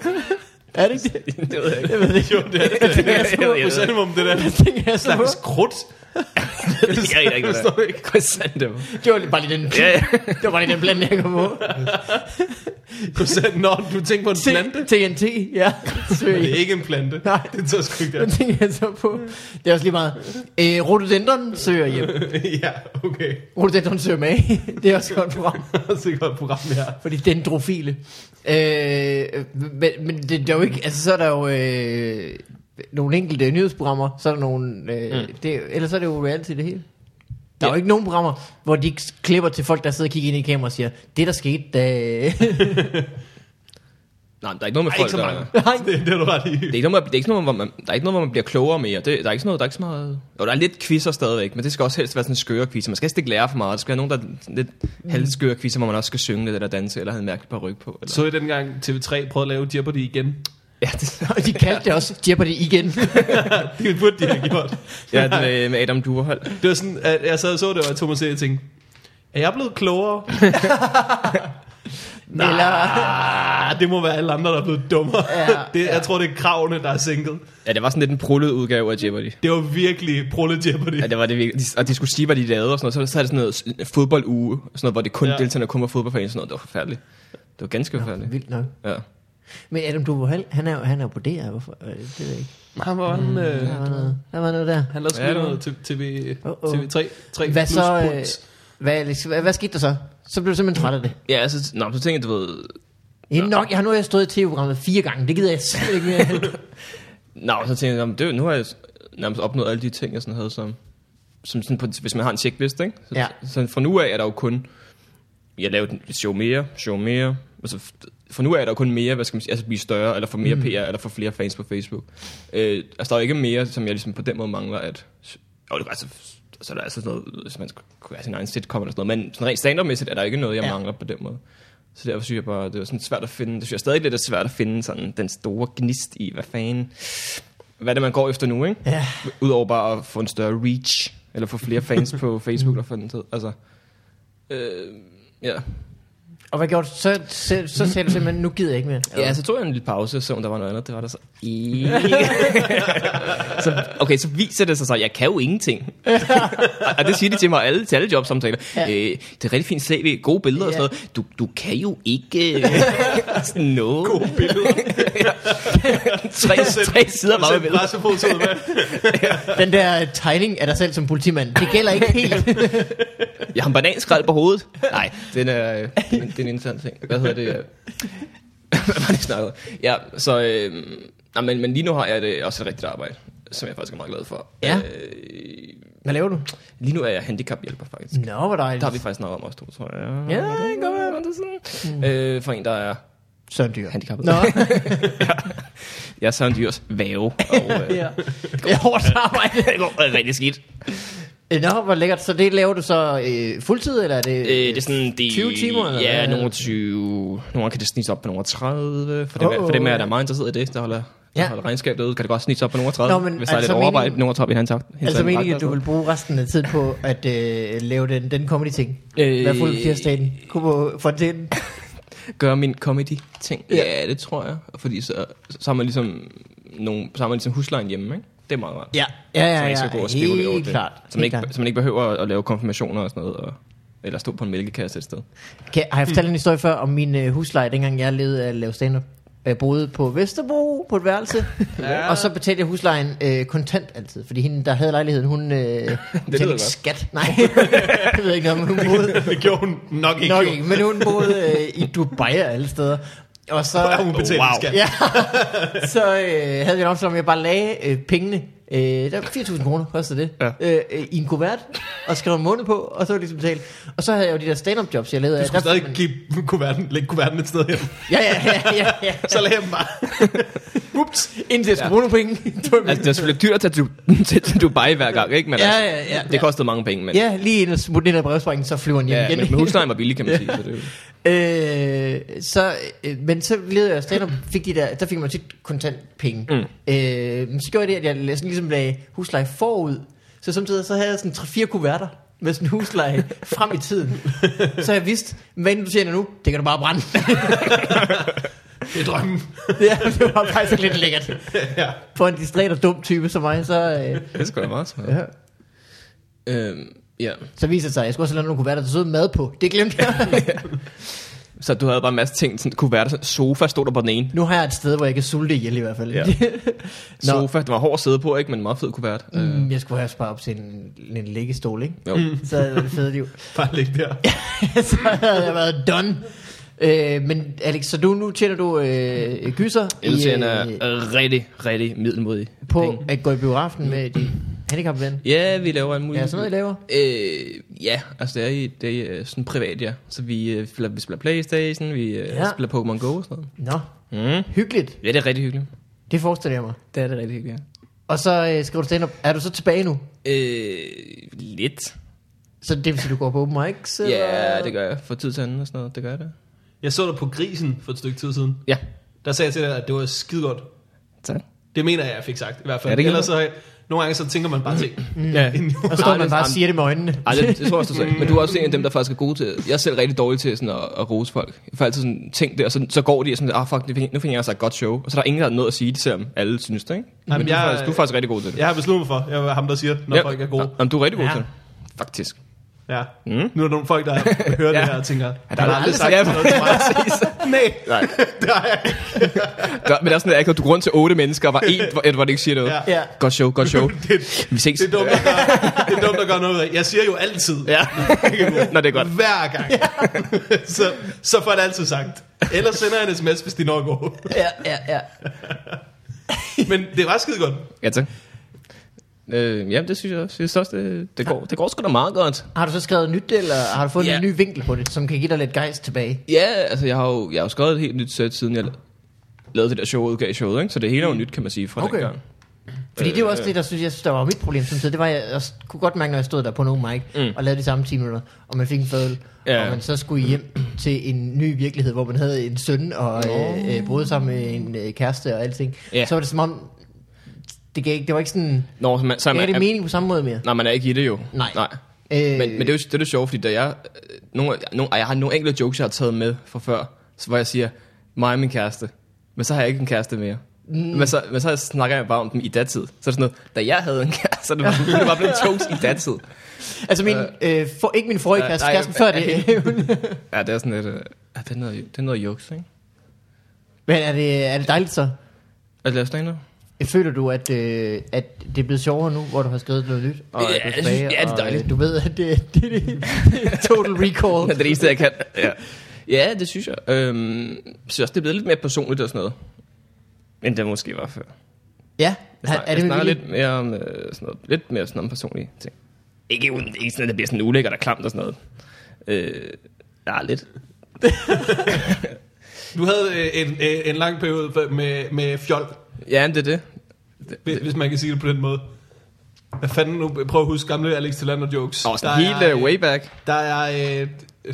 Er det ikke det? det ved jeg ikke. Jeg ved det ikke. Jo, det er det. tænker jeg så. Jeg ved det ikke. Krysantemum, det der Det tænker jeg så. slags krudt. det ved jeg ikke, hvad det er. Krysantemum. Det var bare lige den, Ja, ja. det var bare lige den blanding, jeg kom på. Croissant, nå, du tænker på en plante. T- TNT, ja. Det er Søg. ikke en plante. Nej. Det tager sgu ikke Det det. tænker jeg så på. Det er også lige meget. Øh, rhododendron søger hjem. ja, okay. Rhododendron søger mage. Det er også et godt program. Det er et godt program, det her. Fordi dendrofile. Øh, men, men det, det er jo ikke, altså så er der jo øh, nogle enkelte nyhedsprogrammer, så er der nogle, øh, mm. det, ellers er det jo reality det hele. Der er jo ikke nogen programmer, hvor de ikke klipper til folk, der sidder og kigger ind i kameraet og siger, det der skete, da... Nej, men der er ikke noget med Ej, folk, ikke så der... mange. Der Nej, Det, det er du ret i. er ikke noget, med, det er ikke noget, hvor man, der er ikke noget, hvor man bliver klogere mere. Det, der er ikke sådan noget, der er ikke så meget... Jo, der er lidt quizzer stadigvæk, men det skal også helst være sådan en skøre quiz. Man skal helst ikke lære for meget. Der skal være nogen, der er sådan lidt halvskøre quizzer, hvor man også skal synge lidt eller danse, eller have en mærkelig par ryg på. Eller. Så I dengang TV3 prøvede at lave Jeopardy igen? Ja, det, og de kaldte det også Jeopardy igen. Det burde de have gjort. ja, den, med, med Adam Duerhold. Det var sådan, at jeg sad og så det, og jeg tog mig selv og tænkte, er jeg blevet klogere? Eller, Ah, det må være alle andre, der er blevet dummere. Ja, det, Jeg tror, det er kravene, der er sænket. Ja, det var sådan lidt en prullet udgave af Jeopardy. Det var virkelig prullet Jeopardy. Ja, det var det virkelig. De- Og de skulle sige, hvad de lavede og sådan noget. Så, så er det sådan noget s- fodbolduge, sådan noget, hvor det kun Ja. ja. deltagerne kun var fodboldfans og sådan noget. Det var forfærdeligt. Det var ganske forfærdeligt. vildt nok. Ja. Men Adam Duvohal, han er jo han er jo på DR, hvorfor? Øh, Det ved jeg ikke. Han var en... Øh, Der var noget, der var noget der. han lavede sgu Ja, ja, det var- noget til TV, Åh, åh. TV3. 3 Hvad plus så, øh, punkt. Hvad, Alex, hvad, hvad skete der så? Så blev du simpelthen træt af det. Ja, altså, nå, så tænkte jeg, du ved... Ja. Nok, jeg har nu har jeg stået i tv-programmet fire gange. Det gider jeg simpelthen ikke mere. Nå, så tænkte jeg, jamen, det, er jo- nu har jeg s- nærmest opnået alle de ting, jeg sådan havde som... som sådan på, hvis man har en checklist, ikke? Så, Ja. så fra nu af er der jo kun... Jeg lavede et show mere, show mere. Altså, f- fra nu af er der jo kun mere, hvad skal man sige, altså blive større, eller få mere mm. PR, eller få flere fans på Facebook. Øh, altså, der er jo ikke mere, som jeg ligesom på den måde mangler, at... Jo, det, altså, så er der altså sådan noget, hvis man skulle kunne have sin egen sitcom eller sådan noget, men sådan rent stand er der ikke noget, jeg Ja. ja. mangler på den måde. Så derfor synes jeg bare, det var sådan svært at finde, det synes jeg stadig lidt er svært at finde sådan den store gnist i, hvad fanden, hvad er det, man går efter nu, ikke? Ja. Udover bare at få en større reach, eller få flere fans på Facebook og sådan noget. Altså, øh, ja. Og hvad gjorde du? Så, så, så sagde du simpelthen, nu gider jeg ikke mere. ja, så tog jeg en lille pause og så, om der var noget andet. Det var der så ikke. så, okay, så viser det sig så, at jeg kan jo ingenting. og, og det siger de til mig alle, til alle jobsamtaler. Ja. Ja. Øh, det er rigtig fint CV, gode billeder ja. og Ja. sådan noget. Du, du kan jo ikke øh, sådan noget. Gode billeder. Tre, tre sider Har du bare med sendt billeder. pressefotoet med? Den der øh, tegning af dig selv som politimand, det gælder ikke helt. Jeg har en bananskrald på hovedet. Nej, den er, øh, den, den er en intern ting. Hvad hedder det? øh? Hvad var det, jeg snakkede? om? Ja, så... Øh, nej, men, men lige nu har jeg det også et rigtigt arbejde, som jeg faktisk er meget glad for. Ja. Øh, Hvad laver du? lige nu er jeg handicaphjælper, faktisk. Nå, hvor Der har vi dejligt. faktisk snakket om også, to, tror jeg. Ja, det kan godt være, Mm. det sådan. Øh, for en, der er Søren Dyr. handicappet. Nå, Jeg er Søren Dyrs væve, og øh, ja. Det er hårdt arbejde. det går øh, rigtig skidt. Øh, Nå, hvor lækkert. Så det laver du så øh, fuldtid, eller er det... Øh, det er sådan, de, 20 timer, eller Ja, hvad? nogle 20. Nogle kan det snitte op på nogle 30. For dem, Åh, oh, for dem er ja. der er meget interesseret i det, der holder, ja. Ja. der holder regnskab derude, kan det godt snitte op på nogle 30. Nå, men hvis der altså er lidt overarbejde, meningen- nogle top i hans akt. Altså meningen, at du vil bruge resten af tiden på at øh, lave den, den comedy-ting. Øh, Være fuld af fjerstaten. Kunne på fontænen. Gøre altså. min comedy-ting. Ja. Ja. ja, det tror jeg. Fordi så, så har man ligesom, nogle, så har man ligesom huslejen hjemme, ikke? Det er meget rart. Ja, ja, så ja, man ikke ja, skal gå og spekulere over helt det. klart. Så man, helt ikke, klart. så man ikke behøver at, at lave konfirmationer og sådan noget, og, eller stå på en mælkekasse et sted. Kan, har jeg fortalt en historie før om min øh, husleje, dengang jeg levede af at lave stand-up? Jeg boede på Vesterbro på et værelse, ja. og så betalte jeg huslejen øh, kontant altid, fordi hende, der havde lejligheden, hun øh, betalte ikke godt. skat. Nej, det ved jeg ikke noget, om, men hun boede Det gjorde hun nok ikke. nok ikke, men hun boede øh, i Dubai og alle steder. Og så, Oh, Hvor er hun betalt wow. Wow. skat? ja, så øh, havde vi en aftale om, at jeg bare lagde øh, pengene, øh, der var 4.000 kroner, kostede det, Ja. øh, øh, i en kuvert, og skrev en måned på, og så var det ligesom betalt. Og så havde jeg jo de der stand-up jobs, jeg lavede. Du af. skulle Der- stadig give kuverten, lægge kuverten et sted hen. Ja, ja, ja, ja, ja. Så lagde jeg dem bare. Ups, indtil jeg skulle bruge nogle penge. Det var- Altså, det er selvfølgelig dyrt at du, til Dubai hver gang, ikke? Men Ja, altså, ja, ja, ja. det kostede mange penge, men... ja, lige ind og smutte ind ad brevsprækken, så flyver den hjem Ja, igen. men, men huslejen var billig, kan man sige. Så det, er jo- øh, så, øh, men så levede jeg stand fik de der, der fik man tit kontantpenge. Mm. Øh, men så gjorde jeg det, at jeg la- sådan ligesom lagde husleje forud. Så samtidig så havde jeg sådan 3-4 kuverter med sådan husleje frem i tiden. Så jeg vidste, hvad end du tjener nu, det kan du bare brænde. Det er drømmen. ja, det var faktisk lidt lækkert. ja. For en distræt og dum type som mig, så... Øh, det er sgu da meget smart. Ja. Øhm, ja. Så viser det sig, at jeg skulle også have lavet nogle kuverter, der stod mad på. Det glemte jeg. Så du havde bare en masse ting, sådan kunne være der. Sofa stod der på den ene. nu har jeg et sted, hvor jeg kan sulte ihjel i hvert fald. Ja. Nå. Sofa, det var hård at sidde på, ikke? Men meget fed kuvert. Mm. Øh, Mm, jeg skulle have sparet op til en, en liggestol, ikke? jo. Så havde det været et fedt liv. Bare ligge der. så havde jeg været done. Øh, men Alex, så du, nu tjener du øh, gyser Jeg synes, han er øh, øh, rigtig, rigtig middelmodig. på at gå i biografen med din handicapven. Ja, vi laver en mulig... Ja, sådan noget, I laver? Øh, ja, altså det er, i, det er øh, sådan privat, ja. Så vi, øh, spiller, vi spiller Playstation, vi øh, Ja. ja. spiller Pokémon Go og sådan Nå, noget. Mm. hyggeligt. Ja, det er rigtig hyggeligt. Det forestiller jeg mig. Det er det rigtig hyggeligt, ja. Og så øh, skriver du stand-up. Er du så tilbage nu? Øh, lidt. Så det vil sige, du går på open mics? Ja, eller? yeah, det gør jeg. For tid til anden og sådan noget, det gør jeg da. Jeg så dig på grisen for et stykke tid siden. Ja, Der sagde jeg til dig, at det var skide godt. tak. Det mener jeg, jeg fik sagt, i hvert fald. Ja, Ja, det det kan Ellers så har jeg, nogle gange så tænker man bare ting. Mm. Ja. ind i hovedet. Og så står man Ej, bare og det- siger det med øjnene. Ej, det, det tror jeg også, du sagde. Men du er også en af dem, der faktisk er gode til... Jeg er selv rigtig dårlig til sådan at, at rose folk. Jeg får altid sådan ting der, og så, så går de og sådan... Ah, fuck, det fik- nu finder jeg altså et godt show. Og så er der ingen, der har noget at sige det, selvom alle synes det, ikke? Nej, men men du, er jeg- faktisk, du er faktisk rigtig god til det. Jeg har besluttet mig for, jeg er ham, der siger, når ja. folk er gode. Jamen, du er rigtig god Ja. ja. til det. Faktisk. Ja. Mm. Mm. Nu er der nogle folk, der hører Ja. det her og tænker, ja, der er aldrig sagt noget til mig. Nej, Nej. det har jeg ikke. Der, men der er sådan, at du går rundt til otte mennesker, og var en, hvor, et, hvor det ikke siger noget. Ja. Ja. Godt show, godt show. Det, Vi ses. det, er dumt, at gøre, det er dumt at gøre noget ud af. Jeg siger jo altid. Ja. Nå, det er godt. Hver gang. så, så får jeg det altid sagt. Ellers sender jeg en sms, hvis de når går. Ja, ja, ja. Men det var skide godt. Ja, tak. Øh, jamen, det synes jeg også. Jeg synes også, det, det, går, det går sgu da meget godt. Har du så skrevet nyt, eller har du fået Ja. en ny vinkel på det, som kan give dig lidt gejst tilbage? Ja, altså, jeg har jo, jeg har jo skrevet et helt nyt sæt, siden jeg lavede det der show, udgav showet, ikke? Så det hele er jo nyt, kan man sige, fra Mm. Okay. okay. dengang. Fordi det er jo også Øh, det, der synes, jeg synes, der var mit problem samtidig. Det var, jeg, jeg kunne godt mærke, når jeg stod der på nogen mic mm. og lavede de samme 10 minutter, og man fik en fadøl, Ja. og man så skulle hjem til en ny virkelighed, hvor man havde en søn og øh, øh, boede sammen med en øh, kæreste og alting. Ja. Så var det som om, det, gav, ikke- det var ikke sådan, Nå, så man, så er gav man, det mening på samme måde mere. nej, man er ikke i det jo. Nej. nej. Øh, Men, men det er jo det, er det sjove, fordi da jeg, øh, nogle, nogle, ej, jeg har nogle enkelte jokes, jeg har taget med fra før, så hvor jeg siger, mig og min kæreste, men så har jeg ikke en kæreste mere. Mm. Men, så, men så snakker jeg bare om dem i datid. Så er det sådan noget, da jeg havde en kæreste, så er det var det bare blevet jokes i datid. altså min, øh, for, ikke min forrige øh, kæreste, nej, kæresten øh, før øh, det. Ja, det er sådan lidt, øh, ja, det, er noget, det er noget jokes, ikke? men er det, er det dejligt så? At lave stand-up? Føler du, at, øh, at det er blevet sjovere nu, hvor du har skrevet noget nyt? Og Ja, er du jeg synes- tilbage, ja, det er og, øh, dejligt. Du ved, at det, det, det, det er total recall. Det er det eneste, jeg kan. Ja, ja det synes jeg. Øhm, jeg synes også, det er blevet lidt mere personligt og sådan noget. End det måske var før. Ja, Jeg er, snakker, er det jeg med snakker lidt... lidt mere om øh, sådan noget, lidt mere sådan om personlige ting. Ikke, uden- ikke sådan, at det bliver sådan ulækkert og klamt og sådan noget. Øh, ja, lidt. Du havde øh, en, øh, en lang periode for- med, med fjol, Ja, men det er det. hvis hvis man kan sige det på den måde. Hvad fanden nu? Prøv at huske gamle Alex Tillander jokes. Og sådan helt uh, way back. Der er, øh,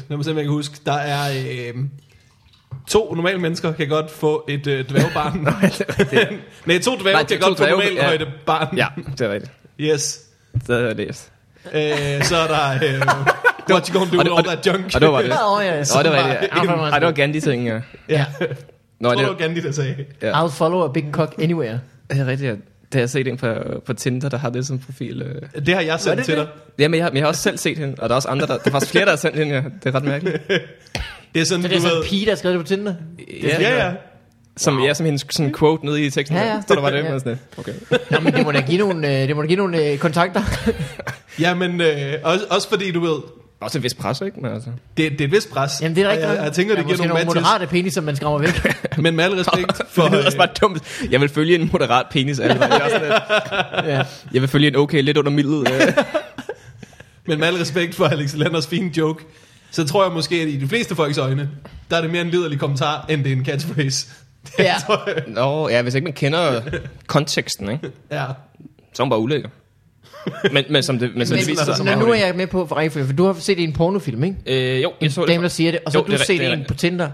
når man selv kan huske, der er øh, to normale mennesker kan godt få et øh, dværgbarn. Nej, to dværge Nej, kan to godt få dværge, normalt ja. højde barn. Ja, det er rigtigt. Yes. Det havde jeg læst. Øh, så er der... Øh, what you gonna do Og with det- all that junk? Og det var det. Ja, åh, ja, Nå, det var rigtigt. Sådan var det. Ej, det var Gandhi-ting, ja. Ja. Nå, Jeg tror, det var det, Gandhi, der sagde. Ja. I'll follow a big cock anywhere. det er rigtigt. ja. Det har jeg set en på, på Tinder, der har det som profil. Øh. Det har jeg Var sendt det til det? dig. Ja, men jeg, har- men jeg har også selv set hende, og der er også andre, der, der er faktisk flere, der har sendt hende. Ja. Det er ret mærkeligt. Det er sådan, Så det er du sådan ved... en pige, der har skrevet det på Tinder? Ja, Ja, ja. Som, ja, som hendes sådan quote nede i teksten. Ja, Ja, ja. ja. Står der bare det? Ja. Ja. Sådan, lidt. okay. Nå, men det må da give nogle, øh, det må da give nogle øh, kontakter. Ja, men øh, også, også fordi, du ved... Også en vis pres, ikke? Men altså. Det, det er et vist pres. Jamen, det er Og rigtigt. Jeg, jeg tænker, Der det er giver måske nogle matches. moderate penis, som man skræmmer væk. Men med al respekt for... øh, det lyder også bare dumt. Jeg vil følge en moderat penis. Altså. Jeg, er sådan, lidt- ja. jeg vil følge en okay, lidt under middel. Øh. Men med al respekt for Alex Landers fine joke, så tror jeg måske, at i de fleste folks øjne, der er det mere en liderlig kommentar, end det er en catchphrase. Det Ja. tror jeg. Nå, ja, hvis ikke man kender konteksten, ikke? Ja. Så er hun bare ulækker. Men, men som det, men som det Men, viser så, sig, så men er nu hun er jeg med på for rækkefølge, for du har set det i en pornofilm, ikke? ikke. Øh, jo, jeg så Dame, der det. siger det, og så Jo, har du det er set rigtigt, det er en på Tinder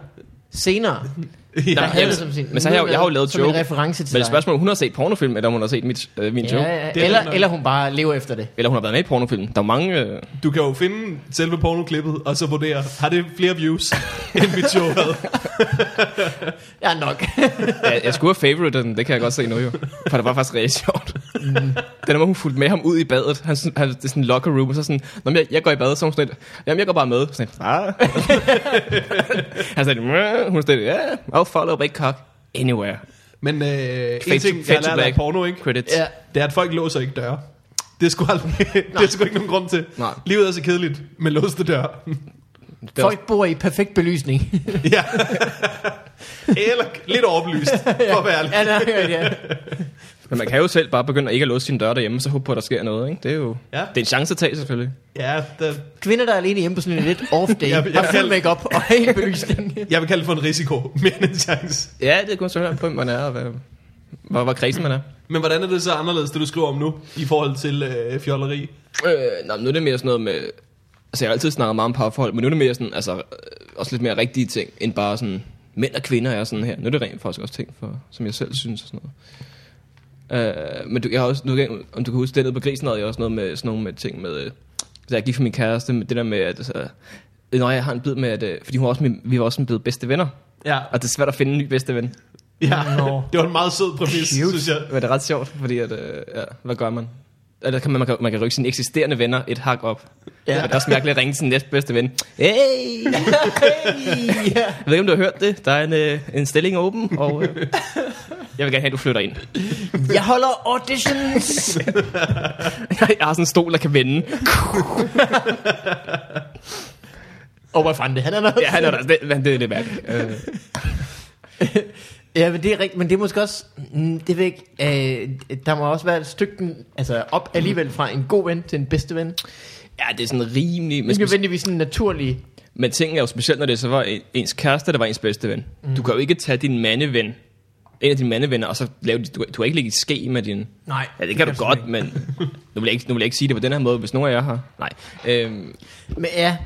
senere. ja. Der Ja, havde ja, det som sin. men så har jeg, jo- jeg har jo lavet som en joke. reference til Men dig. spørgsmålet, er, om hun har set pornofilm, eller om hun har set mit, øh, min Ja, joke. ja, Det er eller, nok. eller hun bare lever efter det. Eller hun har været med i pornofilm. Der er mange... Øh, Du kan jo finde selve pornoklippet, og så vurdere, har det flere views, end mit show havde? Ja, nok. jeg, jeg skulle have favoriten, det kan jeg godt se nu jo. For det var faktisk rigtig sjovt. Den var hun fulgte med ham ud i badet. Han, sådan- han, det er sådan en locker room, og så sådan, Nå, men jeg, jeg går i badet, så er hun sådan lidt, jamen jeg går bare med. Sådan lidt, ah. han sagde, "Mæh." hun er sådan lidt, yeah, I'll follow Big Cock anywhere. Men øh, en Fade to- ting, fade jeg to lærte af black. porno, ikke? Credits. Ja. Det er, at folk låser ikke døre. Det er sgu, aldrig, det er sgu ikke nogen grund til. Nej. Livet er så kedeligt med låste døre. Det var- Folk bor i perfekt belysning. ja. Eller lidt overbelyst, for at være ærlig. ja, nej, ja, ja. Men man kan jo selv bare begynde at ikke at låse sine døre derhjemme, så håbe på, at der sker noget. Ikke? Det er jo Ja. ja. det er en chance at tage, selvfølgelig. Ja, det, Kvinder, der er alene hjemme på sådan en lidt off day, Jeg- jeg har fuld kalder- makeup og helt belysning. jeg vil kalde det for en risiko, mere end en chance. Ja, det er kun sådan, hvem man er, og hvad, hvor, hvor kredsen man er. Men hvordan er det så anderledes, det du skriver om nu, i forhold til øh, fjolleri? Øh, nej, men nu er det mere sådan noget med... Altså, jeg har altid snakket meget om parforhold, men nu er det mere sådan, altså, øh, også lidt mere rigtige ting, end bare sådan, mænd og kvinder er sådan her. Nu er det rent faktisk også ting, for, som jeg selv synes og sådan noget. Øh, men du, jeg har også, nu, ved jeg ikke, om du kan huske det nede på grisen, havde jeg også noget med sådan nogle med ting med, øh, da jeg gik for min kæreste, med det der med, at, altså, øh, når jeg har en bid med, at, øh, fordi hun var også, min- vi var også blevet bedste venner, Ja, og det er svært at finde en ny bedste ven. ja. Nå. det var en meget sød præmis, Cute. synes jeg. Men det er ret sjovt, fordi at, øh, ja, hvad gør man? Eller kan man, man, kan, man kan rykke sine eksisterende venner et hak op. Ja. Og det er også mærkeligt at ringe til sin næstbedste ven. Hey! ja. Jeg ved ikke, om du har hørt det. Der er en, øh, en stilling åben, og øh, jeg vil gerne have, at du flytter ind. Jeg holder auditions. Jeg har sådan en stol, der kan vende. Og hvad fanden det, han er nok. Ja, han er der, det, men det er lidt mærkeligt. Øh, Ja, men det er rigtigt, men det er måske også, mm, det ved jeg ikke, øh, der må også være et stykke den, altså op alligevel fra en god ven til en bedste ven. Det ja, det er sådan rimelig... Men, er ikke speci- nødvendigvis sådan naturlig. men tingene er jo specielt, når det så var en- ens kæreste, der var ens bedste ven. Mm. Du kan jo ikke tage din mandeven, en af dine mandevenner, og så lave... Du, du har ikke ligge et ske med din... Nej, Ja, det kan du godt, men nu vil, jeg ikke, nu vil jeg ikke sige det på den her måde, hvis nogen af jer har. Nej. Øhm, Men ja,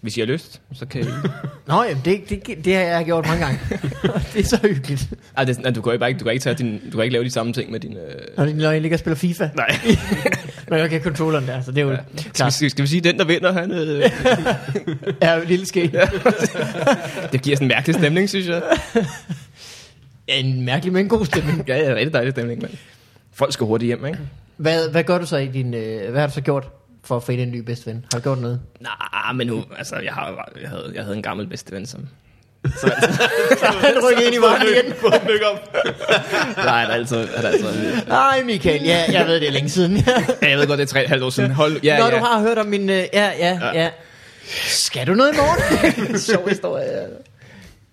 hvis I har lyst, så kan I... Nå, jamen, det, det, det har jeg gjort mange gange. det er så hyggeligt. Ej, det, er sådan, at du kan jo bare ikke, du kan ikke, tage din, du kan ikke lave de samme ting med din... Øh... Når de når jeg ligger og spiller FIFA. Nej. Når jeg kan controlleren der, så det er jo ja. Ja. Skal, vi, klart. skal, skal vi sige, den, der vinder, han... Øh, Ja, jo, lille ske. Ja. det giver sådan en mærkelig stemning, synes jeg. En mærkelig, men god stemning. Ja, ja, rigtig dejlig stemning, mand. Folk skal hurtigt hjem, ikke? Hvad, hvad gør du så i din... Øh, hvad har du så gjort for at finde en ny bedste ven? Har du gjort noget? Nej, men nu... Altså, jeg, har, jeg, havde, jeg havde en gammel bedsteven, som... Han rykker ind i varmen igen. Få den lykke op. Nej, der er altid... Der er altid Nej, Michael, ja, jeg ved det er længe siden. ja, jeg ved godt, det er tre et halvt år siden. Hold, ja, Når ja. du har hørt om min... Øh, ja, ja, ja. Skal du noget i morgen? Sjov historie. ja.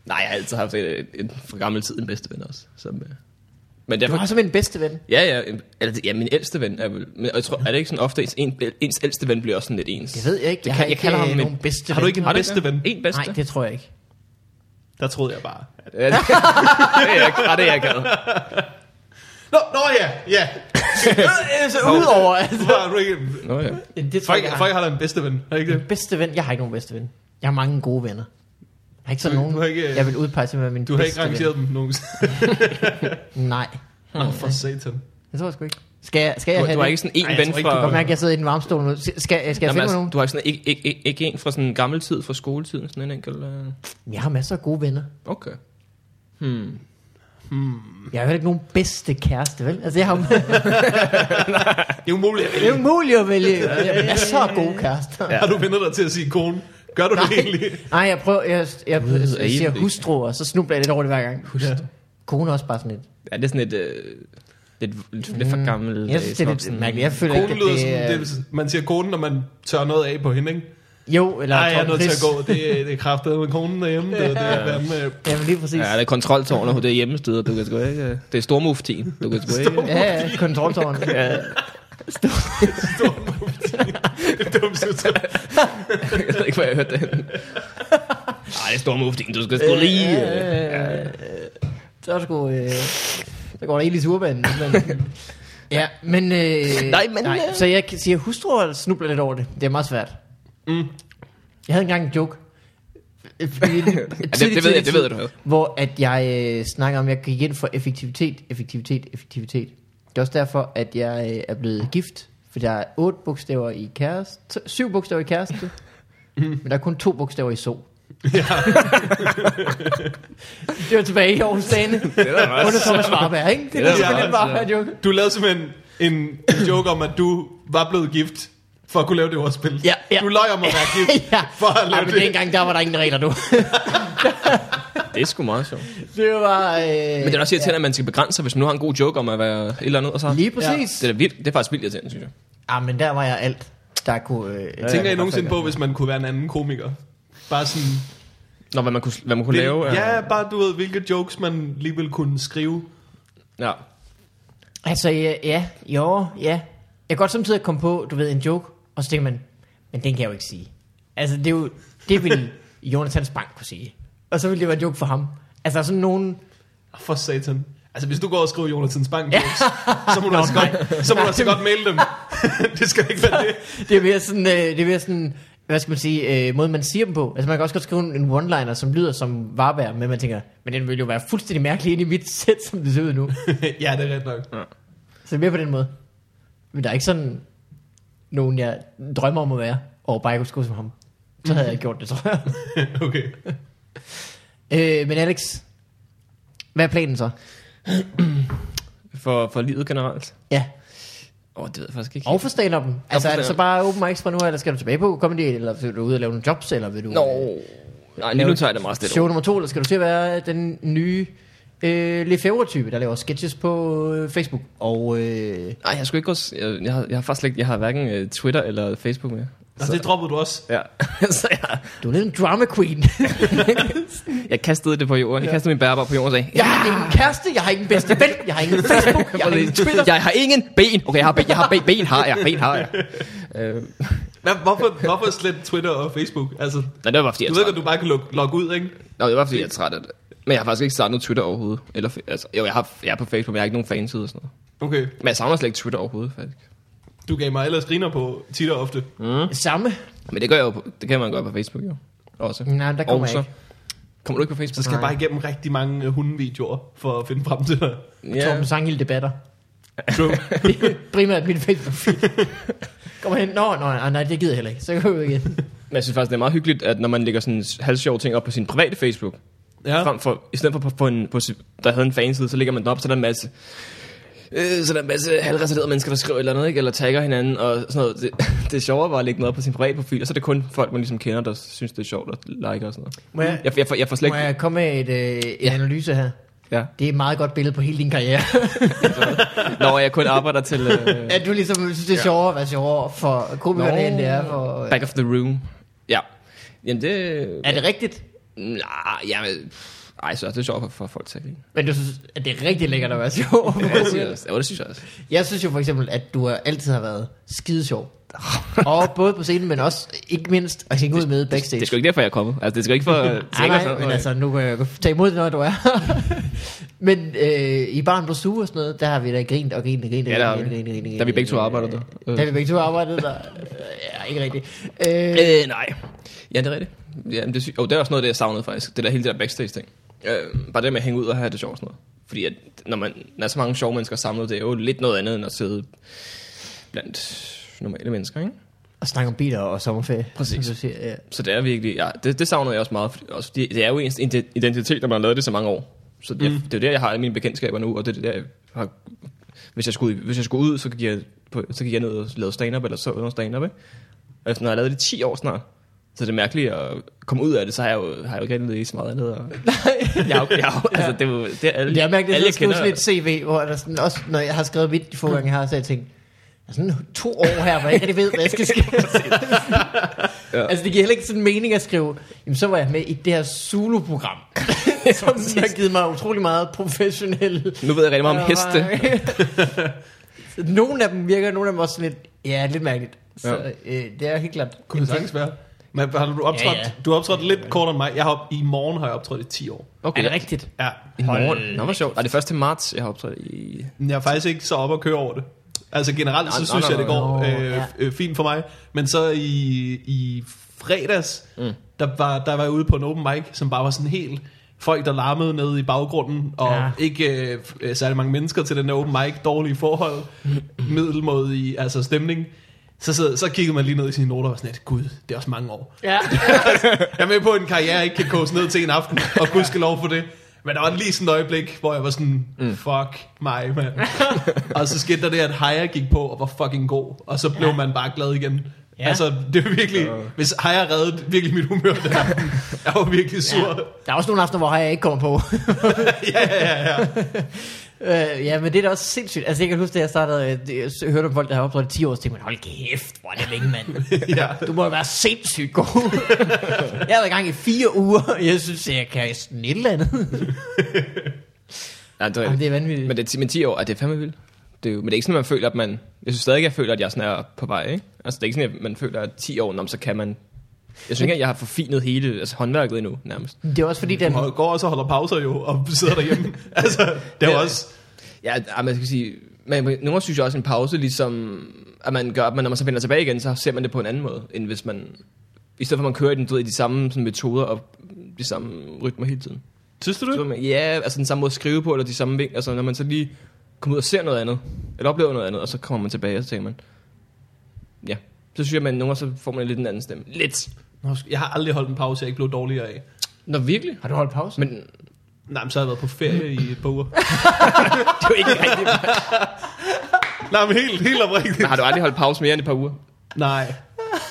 Nej, jeg har altid haft en, en, en fra gammel tid en bedsteven også. Som, øh... Men derfor, Du har som en bedste ven. Ja, ja, en- eller, det- ja, min ældste ven er vel, men jeg tror, er det ikke sådan ofte, ens, en, ens ældste ven bliver også sådan lidt ens? Det ved jeg ikke. Jeg, har kan- ikke, øh, en- nogen bedste Har du ven. ikke en Har du bedste ven? En bedste? Nej, det tror jeg ikke. Der troede jeg bare. at- Ja, det, det er jeg ikke. Ah, det er jeg ikke. Nå, nå ja, ja. Så udover... at- Hvorfor har du ikke en- Nå, ja. Det tror jeg, Folk, ikke, jeg har. folk har da en bedste ven, har de ikke det? Bedste ven? Jeg har ikke nogen bedste ven. Jeg har mange gode venner. Jeg har ikke sådan Du- nogen, du har ikke, øh, jeg vil udpege til at være min Du har ikke bedste rangeret dem nogensinde. ven. Nej, Nå, for satan. det tror jeg sgu ikke. Skal jeg, skal jeg Du, have du har det? ikke sådan en Ej, jeg ven tror ikke, fra... du Godt mærke, at jeg sidder i den varme stol nu. Skal, skal, skal jeg Jamen, finde mig altså, nogen? du har ikke sådan ikke, ikke, ikke, ikke en fra sådan gammel tid, fra skoletiden, sådan en enkelt... Øh... Jeg har masser af gode venner. Okay. Hmm. Jeg har heller ikke nogen bedste kæreste, vel? Altså, jeg har, det Det er umuligt at er vælge. jo muligt at vælge. Jeg har masser af gode kærester. Har du vendt dig til at sige kone? Gør du det egentlig? Nej, jeg prøver, jeg, jeg, jeg, jeg er I siger det? hustru, og så snubler jeg lidt over det hver gang. Ja. Kone er også bare sådan lidt. Mm. Ja, det er sådan et... Øh... Lidt, lidt, lidt for gammel... Hmm. øh, Jeg synes, det er lidt mærkeligt. Jeg føler ikke, Kone at lyder det sådan, er... det, er- man siger kone, når man tør noget af på hende, ikke? Jo, eller Nej, jeg er Tom nødt til Chris. at gå. Det, er- det er kraftedet med konen derhjemme. Det, det er fandme Jamen, lige præcis. Ja, det er kontroltårnet, det er hjemmesteder, du kan sgu ikke... øh, Det er stormuftien, du kan sgu ikke... Ja, ja, kontroltårn. Ja, dumt udtryk. jeg ved ikke, hvor jeg hørte det. Nej, det er stormuftien, du skal sgu lige... øh. Øh, så er det sgu... Øh, så går der Elis Urban. Men, ja, men... Øh, Nej, men, øh. Så jeg kan- siger, hustru og snubler lidt over det. Det er meget svært. Mm. Jeg havde engang en joke. Øh, i en tidlig, det ved jeg- tidlig det ved tid, jeg, du havde. Hvor at jeg øh, snakker om, at jeg gik ind for effektivitet, effektivitet, effektivitet. Det er også derfor, at jeg øh, er blevet gift. For der er otte bogstaver i kæreste. Syv bogstaver i kæreste. Men der er kun to bogstaver i so. det var tilbage i Aarhus Dane. Det er da også- Under Thomas Warberg, ikke? Det er Ja, selvfølgelig altså. bare en joke. Du lavede simpelthen en, en joke om, at du var blevet gift for at kunne lave det ordspil. Ja, ja. Du løj om at være gift ja. for at lave Ej, men det. dengang, der var der ingen regler, du. Det er sgu meget sjovt. det var... Øh, Men det er også irriterende, at man skal begrænse sig, hvis man nu har en god joke om at være et eller andet. Og så. Lige præcis. Det er, da vildt, det er faktisk vildt irriterende, synes jeg. Ja, øh, ah, men der var jeg alt, der kunne... Øh, Jeg tænker I nogensinde på, hvis man kunne være en anden komiker? Bare sådan... Nå, hvad man kunne, hvad man kunne lave. øh, ja, bare du ved, hvilke jokes man lige ville kunne skrive. ja. Altså, ja, ja, jo, ja. Jeg kan godt samtidig komme på, du ved, en joke, og så tænker man, men den kan jeg jo ikke sige. Altså, det, er jo, det ville Jonathan Spang kunne sige. Og så ville det være en joke for ham. Altså, der er sådan nogen... Ah, For satan. Altså, hvis du går og skriver Jonathan Spang jokes, så må du også godt, så må du også godt mail dem. det skal ikke være det. Det er mere sådan, øh, det er mere sådan hvad skal man sige, øh, måde man siger dem på. Altså man kan også godt skrive en one-liner, som lyder som Varberg, men man tænker, men den ville jo være fuldstændig mærkelig ind i mit sæt, som det ser ud nu. ja, det er ret nok. Så mere på den måde. Men der er ikke sådan nogen, jeg drømmer om at være, og bare jeg kunne skrive som ham. Så havde jeg gjort det, tror jeg. okay. Øh, men Alex, hvad er planen så? For, for livet generelt. Ja, Åh, oh, det ved jeg faktisk ikke. og for stand -upen. Altså er det så stand-up. bare open mics fra nu, af, eller skal du tilbage på comedy, eller vil du ud og lave nogle jobs, eller vil du... øh, Nå, nej, lige nu tager jeg det meget stille. Show nummer to, eller skal du til at være den nye øh, Lefebvre-type, der laver sketches på øh, Facebook? Og øh, Nej, jeg skulle ikke også, jeg, jeg, har, jeg har faktisk slet ikke, jeg har hverken øh, Twitter eller Facebook mere. Og det droppede du også. Ja, så jeg, du er lidt en drama queen. jeg kastede det på jorden. Jeg kastede min bærbar på jorden og sagde, jeg har ingen kæreste, jeg har ingen bedste ven, jeg har ingen Facebook, jeg har ingen Twitter. jeg har ingen ben. Okay, jeg har ben, jeg har ben, ben har jeg, ben har jeg. Øh, Hvad, hvorfor, hvorfor slet Twitter og Facebook? Altså, nej, det var bare, fordi jeg du ved er træt. godt, du bare kan logge, logge ud, ikke? Nå, det var, fordi jeg er træt af det. Men jeg har faktisk ikke startet noget Twitter overhovedet. Eller, fe- altså, jo, jeg, har, jeg er på Facebook, men jeg har ikke nogen fanside og sådan noget. Okay. Men jeg savner slet ikke Twitter overhovedet, faktisk. Du gav mig ellers griner på tit og ofte. Samme. Men det gør jeg jo på, det kan man gøre på Facebook, jo. Også. Nej, men der kommer Og jeg så- ikke. Kommer du ikke på Facebook? Så skal jeg bare igennem rigtig mange øh, hundevideoer for at finde frem til dig. Yeah. Torben Sanghild debatter. True. Det er primært min Facebook. Kom hen. Nå, nej, nej, det gider jeg heller ikke. Så går vi ud igen. Men jeg synes faktisk, det er meget hyggeligt, at når man lægger sådan halvsjove ting op på sin private Facebook, ja. Ja. frem for, i stedet for på, på en, på, sin- der havde en fanside, så lægger man den op, så der er en masse, øh, så der er en masse halvreserverede mennesker, der skriver et eller andet, ikke? eller tagger hinanden, og sådan noget. Det, det er sjovere bare at lægge noget op på sin private profil, og så er det kun folk, man ligesom kender, der synes, det er sjovt at like og sådan noget. Må jeg, Jeg, jeg, får, jeg får slet må ikke... jeg komme med et, øh, en analyse her? Ja. Det er et meget godt billede på hele din karriere. Når jeg kun arbejder til øh, at du ligesom synes, det er sjovere at være sjovere for komikerne, Nå. end det er for... øh, Back of the Room. Ja. Jamen det... Er det rigtigt? Nej, jamen... Ej, så er det sjovt for, for folk til at grine. Men du synes, at det er rigtig lækkert at være sjov. Ja, det synes jeg også. Ja, det synes jeg også. jeg synes jo for eksempel, at du har altid har været skide sjov. og både på scenen, men også ikke mindst at hænge ud med backstage. Det er sgu ikke derfor, jeg er kommet. Altså, det er sgu ikke for... øh, Nej, tænker nej, sådan men noget. altså, nu kan jeg jo tage imod det, når du er Men øh, i Barn på Stue og sådan noget, der har vi da grint og grint og grint og Ja, der har grint, vi. grint, grint, grint, Da vi begge to grint, arbejdede øh, der. Da vi begge to arbejdede der. Øh, Ja, ikke rigtigt. Øh, Øh, nej. Ja, det er rigtigt. Ja, men det, sy- oh, det er også noget af det, jeg savnede faktisk. Det der hele det der backstage-ting. Øh, bare det med at hænge ud og have det sjovt og sådan noget. Fordi at, når man når så mange sjove mennesker samlet, det er jo lidt noget andet end at sidde blandt normale mennesker, ikke? og snakke om biler og sommerferie. Præcis. som du siger, ja. Så det er virkelig, ja, det, det savnede jeg også meget. Fordi, også fordi det er jo ens ident- identitet, når man har lavet det så mange år. Så det, mm. det er jo der, jeg har alle mine bekendtskaber nu, og det er der, jeg har, hvis, jeg skulle, ud- hvis jeg skulle ud, så gik jeg, på, så gik jeg ned og lavede stand-up, eller så noget stand-up, ikke? Og efter, når jeg har lavet det i 10 år snart, så det er mærkeligt at komme ud af det, så har jeg jo, har jeg jo ikke andet i så meget andet. Og, jeg, har jo- jeg, har jo- altså, det er jo, det er alle, Men Jeg mærker, det alle Hm. er sådan sådan et CV, hvor der sådan, også når jeg har skrevet mit de få gange, jeg har, så har jeg tænkt, der er sådan to år her, hvor jeg ikke rigtig ved, hvad jeg skal skrive. ja. Altså, det giver heller ikke sådan mening at skrive, jamen så var jeg med i det her Zulu-program, som har givet mig utrolig meget professionel. Nu ved jeg rigtig meget om heste. nogle af dem virker, nogle af dem også lidt, ja, lidt mærkeligt. Så øh, det er helt klart. Kunne det sagtens være? Men har du optrådt, Ja, ja, ja. ja. du har optrådt lidt kortere end mig. Jeg har, op- I morgen har jeg optrådt i 10 år. Okay. Er det rigtigt? Ja. I morgen. Nå, hvor sjovt. Og det er 1. marts, jeg har optrådt i... Men Jeg er faktisk ikke så op at køre over det. Altså generelt, Nå, så nå, synes nå, jeg, det nå, går nå, øh, ja. f- øh, fint for mig. Men så i, i fredags, Mm. der, var, der var jeg ude på en open mic, som bare var sådan helt folk, der larmede nede i baggrunden, og Ja. ja. ikke øh, f- øh, særlig mange mennesker til den der open mic, dårlige forhold, middelmådig altså stemning. Så, så, så kiggede man lige ned i sine noter og var sådan lidt, gud, det er også mange år. Ja. Jeg er med på, at en karriere ikke kan koges ned til en aften, og gud skal lov for det. Men der var lige sådan et øjeblik, hvor jeg var sådan, mm. fuck mig, mand. og så skete der det, at Haya gik på og var fucking god, og så blev ja. man bare glad igen. Ja. Ja. Altså, det var virkelig, hvis Haya reddede virkelig mit humør den aften, jeg var virkelig sur. Der er også nogle aftener, hvor jeg ikke kommer på. Ja, ja, ja. ja. Øh, ja, men det er da også sindssygt. Altså, jeg kan huske, da jeg startede, øh, det- jeg s- hørte om folk, der har optrådt i 10 år, så tænkte man, hold kæft, hvor er det længe, mand. Ja. Du må jo være sindssygt god. jeg har været i gang i fire uger, og jeg synes, jeg kan sådan et eller andet. Ja, det er, Jamen, Jamen, det er vanvittigt. Men det er 10, men 10 år, er det er fandme vildt. Det er jo, men det er ikke sådan, man føler, at man... Jeg synes stadig, jeg føler, at jeg sådan er på vej, ikke? Altså, det er ikke sådan, at man føler, at 10 år, om så kan man... Jeg synes ikke, at jeg har forfinet hele altså, håndværket endnu, nærmest. det er også fordi, den, Og går også og holder pauser jo, og sidder derhjemme. altså, det var Ja. også... Ja, ja, man skal sige... Men nogle gange synes jeg også, en pause, ligesom... At man gør, at man, når man så vender tilbage igen, så ser man det på en anden måde, end hvis man... I stedet for, at man kører i, den, du ved, i de samme sådan, metoder og de samme rytmer hele tiden. Synes du Så det? vil man- Ja, altså den samme måde at skrive på, eller de samme vinkler. Altså når man så lige kommer ud og ser noget andet, eller oplever noget andet, og så kommer man tilbage, og så tænker man, ja, så synes jeg, at man nogle gange, så får man lidt en anden stemme. Lidt. Nå, Jeg har aldrig holdt en pause, jeg ikke blev dårligere af. Nå, virkelig? har du holdt pause? Men det Nej, men så har jeg været på ferie i et par uger. er jo ikke rigtigt. Nej, men helt, helt oprigtigt. Men har du aldrig holdt pause mere end et par uger? Nej.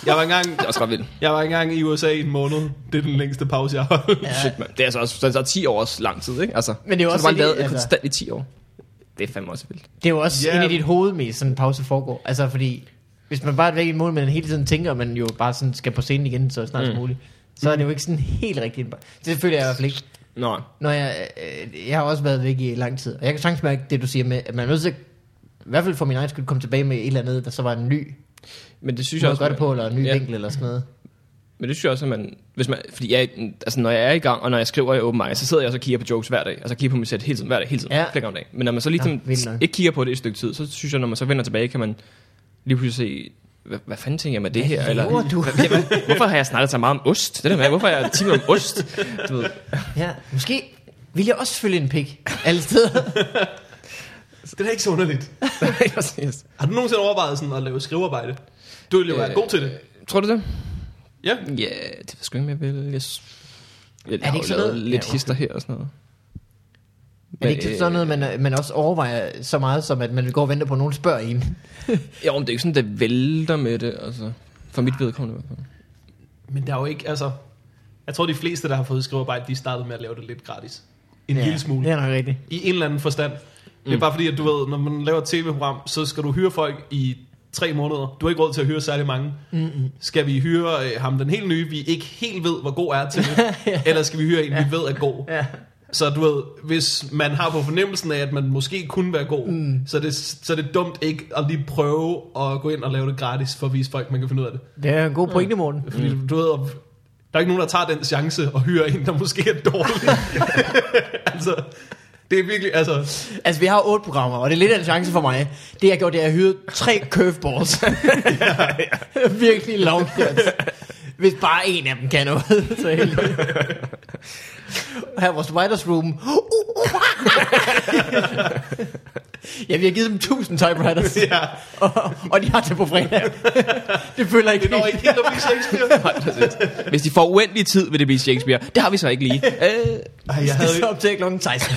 Jeg var engang, Det er også ret vildt. jeg var engang i USA i en måned. Det er den længste pause, jeg har holdt. Ja. Shit, man. Det er altså også, så er det så 10 års lang tid, ikke? Altså, Men det er jo så også bare fordi, lavet altså... altså- konstant i 10 år. Det er fandme også vildt. Det er jo også Ja. yeah. inde i dit hoved mest, sådan en pause foregår. Altså fordi, hvis man bare er væk i et mål, men hele tiden tænker, at man jo bare sådan skal på scenen igen, så snart mm. som muligt. Så er det jo ikke sådan helt rigtigt. Det føler jeg i hvert fald ikke. Nå, Når jeg, øh, jeg har også været væk i lang tid. Og jeg kan sagtens mærke det, du siger med, at man er nødt til at, i hvert fald for min egen skyld, komme tilbage med et eller andet, der så var en ny men det synes måde at jeg også... gøre det på, eller en ny Ja. ja. vinkel, eller sådan noget. Men det synes jeg også, at man... Hvis man fordi jeg, altså, når jeg er i gang, og når jeg skriver i open mic, så sidder jeg også og kigger på jokes hver dag. Altså kigger på mit sæt hele tiden, hver dag, hele tiden, ja. Ja. flere gange om dagen. Men når man så lige Nå, vildt ja, nok. ikke kigger på det i et stykke tid, så synes jeg, når man så vender tilbage, kan man lige pludselig se, hvad, hvad fanden tænker jeg med det her? Eller, laver du? Hvad, hvad, hvorfor har jeg snakket så meget om ost? Det der med, hvorfor har jeg 10 minutter om ost? Du ved, Ja, måske vil jeg også følge en pik alle steder. Det er da ikke så underligt. yes. Har du nogensinde overvejet sådan at lave skrivearbejde? Du ville jo være Øh, god til det. Tror du det? Ja. Ja, det ved jeg sgu ikke, om jeg vil. Jeg, s- jeg, det har ikke jo sådan lavet noget? lidt Ja, hister her og sådan noget. er det ikke sådan øh, noget, man, man også overvejer så meget, som at man går og venter på, at nogen spørger en? Jo, men det er ikke sådan, det vælter med det, altså. For mit vedkommende i hvert fald. Men der er jo ikke, altså... Jeg tror, de fleste, der har fået skrivearbejde, de startede med at lave det lidt gratis. En ja. lille smule. Det er nok rigtigt. i en eller anden forstand. Mm. Det er bare fordi, at du ved, når man laver et tv-program, så skal du hyre folk i tre måneder. Du har ikke råd til at hyre særlig mange. Mm-mm. Skal vi hyre øh, ham den helt nye, vi ikke helt ved, hvor god er til det? Eller skal vi hyre en, vi ved er god? Ja. Så du ved, hvis man har på fornemmelsen af, at man måske kunne være god, mm. så, er det, så er det dumt ikke at lige prøve at gå ind og lave det gratis, for at vise folk, man kan finde ud af det. Det er en god pointe, Morten. Fordi mm. du ved, om- der er ikke nogen, der tager den chance og hyrer en, der måske er dårlig. altså, det er virkelig, altså, Altså, vi har otte programmer, og det er lidt af en chance for mig. Det, jeg gjorde, det er, at jeg hyrede tre curveballs. Virkelig lovkørt. Hvis bare en af dem kan noget. Så er helt... Her er vores writers room. Uh, uh, uh. ja, vi har givet dem 1000 typewriters, Ja, og, og de har det på fredag. det føler jeg ikke. det når ikke helt at blive Shakespeare. Nej, præcis. Hvis de får uendelig tid, vil det blive Shakespeare. Det har vi så ikke lige. Øh, Ej, jeg, Det havde, så op til klokken 16.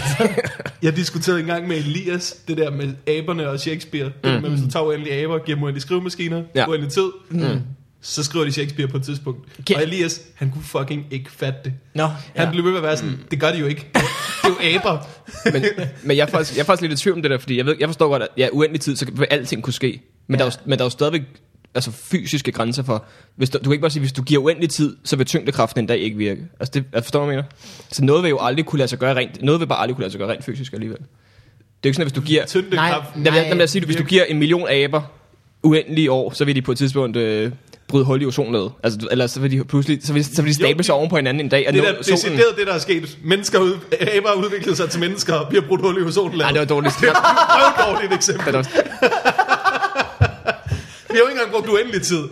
jeg diskuterede engang med Elias, det der med aberne og Shakespeare. Det der med, hvis du tager uendelige aber, giver dem uendelige skrivemaskiner, Ja. ja. uendelig tid, mm. så skriver de Shakespeare på et tidspunkt. Okay. Og Elias, han kunne fucking ikke fatte det. Nå, Han blev ved med at være sådan, det gør de jo ikke. Det er jo aber. men men jeg, er faktisk, jeg er faktisk lidt i tvivl om det der, fordi jeg, ved, jeg forstår godt, at ja, uendelig tid, så vil alting kunne ske. Men, ja. der, er jo, men der er jo stadigvæk altså, fysiske grænser for... Hvis du, du kan ikke bare sige, hvis du giver uendelig tid, så vil tyngdekraften en dag ikke virke. Altså, det, jeg forstår, hvad jeg mener? Så noget vil jo aldrig kunne lade sig gøre rent... Noget vil bare aldrig kunne lade sig gøre rent fysisk alligevel. Det er jo ikke sådan, at hvis du giver... Tyndekraften. Lad, lad, lad mig sige, det, hvis du Virke. giver en million aber uendelige år, så vil de på et tidspunkt øh, bryde hul i ozonlaget. Altså, du- eller så vil de pludselig så vil, så vil de Jo, stable det- sig oven på hinanden en dag. Og Det nå er da decideret det, der er sket. Mennesker ud, aber har udviklet sig til mennesker og bliver brudt hul i Ej, ozonlaget. det Det var dårligt. er et røvdårligt eksempel. Det var også- Vi har jo ikke engang brugt uendelig tid.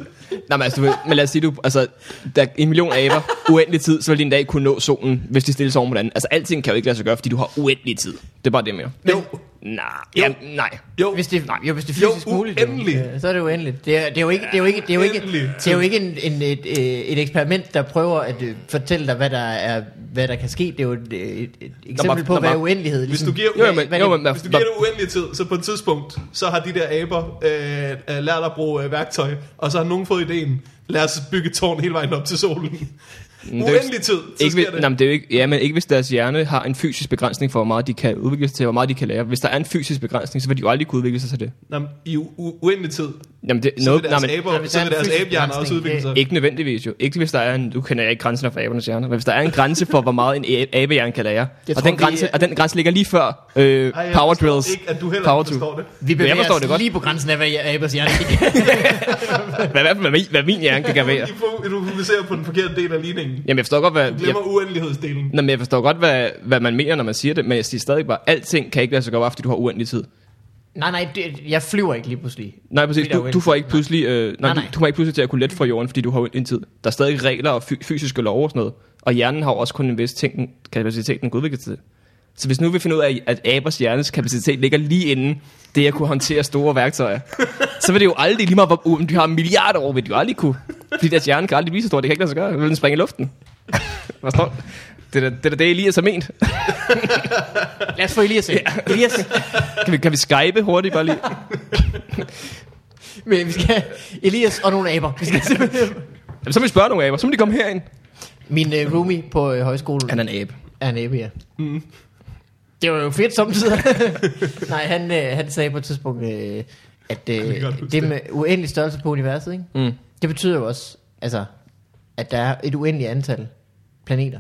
Nej, men, altså, du ved, men lad os sige, du, altså, der er en million aber, uendelig tid, så vil de en dag kunne nå solen, hvis de stiller sig oven på hinanden. Altså, alting kan jo ikke lade sig gøre, fordi du har uendelig tid. Det er bare det, mere. Jo, Nej. Jo. Ja, nej. Jo, Hvis det, jo, hvis det er Jo, fysisk muligt, jo, uendelig. øh, så er det jo endeligt. Det er, det er jo ikke, det er jo ikke, det er jo ikke, Uendelig. det er jo ikke en, en, et, øh, et eksperiment, der prøver at øh, fortælle dig, hvad der, er, hvad der kan ske. Det er jo et, øh, et, et eksempel var- på, der hvad var- uendelighed Hvis ligesom. du giver, Jo, men, hvad er jo, det- men, der, hvis du der, giver det uendelig tid, så på et tidspunkt, så har de der aber øh, øh, lært at bruge øh, værktøj, og så har nogen fået ideen, lad os bygge et tårn hele vejen op til solen. Men det er jo Uendelig tid, så ikke, sker hvis, det. nej, men det er jo ikke, ja, men ikke hvis deres hjerne har en fysisk begrænsning for, hvor meget de kan udvikle sig til, hvor meget de kan lære. Hvis der er en fysisk begrænsning, så vil de jo aldrig kunne udvikle sig til det. Jamen, I u- u- uendelig tid, Jamen, det, så noget, vil nej, deres men, nej, aber, hvis så der er vil en deres fysisk abehjerner også begrænsning, udvikle sig. ikke nødvendigvis jo. Ikke hvis der er en, du kender ikke grænsen for abernes hjerne, men hvis der er en grænse for, hvor meget en a- abehjerne kan lære. Jeg og, tror, den vi- grænse, og den grænse ligger lige før øh, Ej, jeg power forstår drills. Ikke, at du heller Power ikke forstår det. Vi bevæger forstår os det godt. lige på grænsen af, hvad jeg abers hjerne kan. Hvad, hvad, hvad, min- hvad min hjerne kan gøre. Du, fo- du fokuserer på den forkerte del af ligningen. Jamen, jeg forstår godt, hvad... Du jeg, glemmer uendelighedsdelen. Nå, men jeg forstår godt, hvad, hvad man mener, når man siger det, men jeg siger stadig bare, alting kan ikke lade sig gøre, bare fordi du har uendelig tid. nej, nej, det, jeg flyver ikke lige pludselig. Nej, præcis. Fordi der er Du, uendelig du får tid. ikke pludselig, øh, nej, Nej, du, nej. du får ikke pludselig til at kunne let fra jorden, fordi du har uendelig tid. Der er stadig regler og fy- fysiske lov og sådan noget. Og hjernen har jo også kun en vis ting, kapacitet, den kan udvikle sig til. Så hvis nu vi finder ud af, at abers hjernes kapacitet ligger lige inden det at kunne håndtere store værktøjer, så vil det jo aldrig lige meget, hvor- om de har milliarder år, vil de jo aldrig kunne. Fordi deres hjerne kan aldrig blive så stor, det kan ikke lade sig gøre. Så Vil den springe i luften? Forstår du? Det er da det, er da det Elias har ment. Lad os få Elias ind. Elias, Kan vi, kan vi skype hurtigt bare lige? men vi skal, Elias og nogle aber. Vi skal simpelthen- Jamen, så må vi spørge nogle aber. Så må de komme herind. Min øh, roomie på øh, højskolen Han er en abe. er en abe, ja. Mm. Det var jo fedt samtidig. nej, han, øh, han sagde på et tidspunkt, øh, at øh, kan godt huske det med uendelig størrelse på universet, ikke? Mm. det betyder jo også, altså, at der er et uendeligt antal planeter.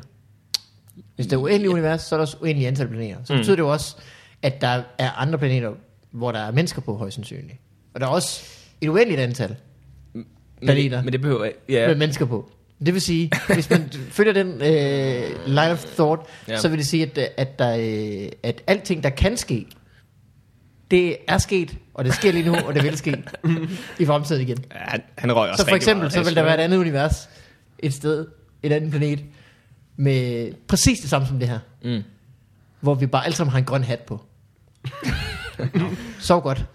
Hvis der er uendeligt ja. univers, så er der også uendeligt antal planeter. Så mm. betyder det jo også, at der er andre planeter, hvor der er mennesker på højst sandsynligt. Og der er også et uendeligt antal planeter Men, men det behøver ikke. ja. Ja. med mennesker på. Det vil sige, hvis man følger den øh, line of thought, Ja. ja. så vil det sige, at, at, der, øh, at alting, der kan ske, det er sket, og det sker lige nu, og det vil ske i fremtiden igen. Ja, han, han røg også Så for rigtig eksempel, meget så hash, vil der ikke? være et andet univers, et sted, et andet planet, med præcis det samme som det her. Mm. Hvor vi bare alle sammen har en grøn hat på. Sov godt.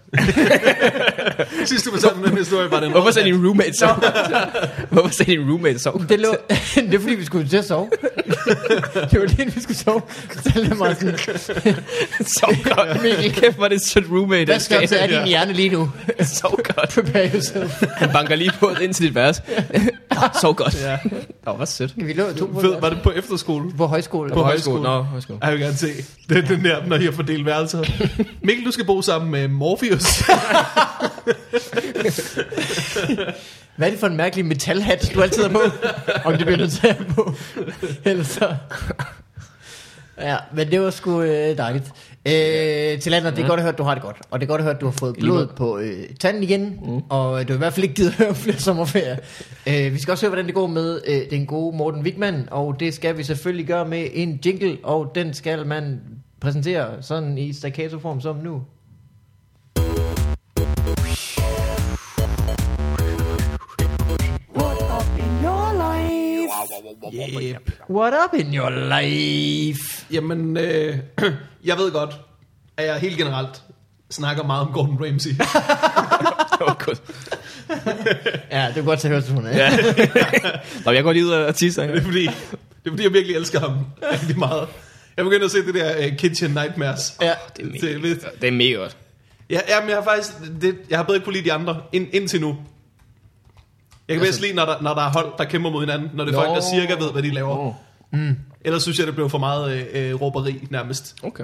Sidst du fortalte mig den historie, var den Hvorfor sagde din roommate så? Hvorfor sagde din roommate så? Det, lå, det er fordi, vi skulle til at sove. det var lige, inden vi skulle sove. Så fortalte han mig sådan, så godt. Mikkel, kæft, hvor er det et sødt roommate. hvad skal der jeg er din hjerne lige nu? Så godt. Prepare yourself. Han banker lige på ind til dit værelse. Ah, så godt. Ja. Åh, hvor sødt. Vi lå to på, Fed, var det på efterskole? på højskole. På På. højskole. Nå, højskole. Jeg vil gerne se. Det er den der, når I har fordelt værelser. Mikkel, du skal bo sammen med Morpheus. Hvad er det for en mærkelig metalhat, du altid har på? Om det bliver nødt til at have på. Ellers så... Ja, men det var sgu øh, dejligt. Øh, til Lander, det er godt at høre, at du har det godt. Og det er godt at høre, at du har fået blod på øh, tanden igen. Mm. Og du har i hvert fald ikke givet at høre om flere sommerferier. Øh, vi skal også høre, hvordan det går med øh, den gode Morten Wigman. Og det skal vi selvfølgelig gøre med en jingle. Og den skal man præsentere sådan i staccato-form som nu. What up in your life? yep. What up in your life? Jamen, øh, jeg ved godt, at jeg helt generelt snakker meget om Gordon Ramsay. Åh, godt. Ja, det er godt til at høre, som hun er. Ja. Nå, jeg går lige ud og tisse. Det er fordi, det er fordi jeg virkelig elsker ham rigtig meget. Jeg begynder at se det der uh, Kitchen Nightmares. Ja. Det er Det er mega lidt- godt. Det er mega godt. Ja, ja, men jeg har faktisk... Det, jeg har bedre ikke kunne lide de andre ind, indtil nu. Jeg kan bedst lide, når der, når der er hold, der kæmper mod hinanden. Når det er folk, der Altså- Nå. cirka ved, hvad de laver. Mm. Åh. Ellers synes jeg, det blev for meget øh, øh, råberi nærmest. Okay.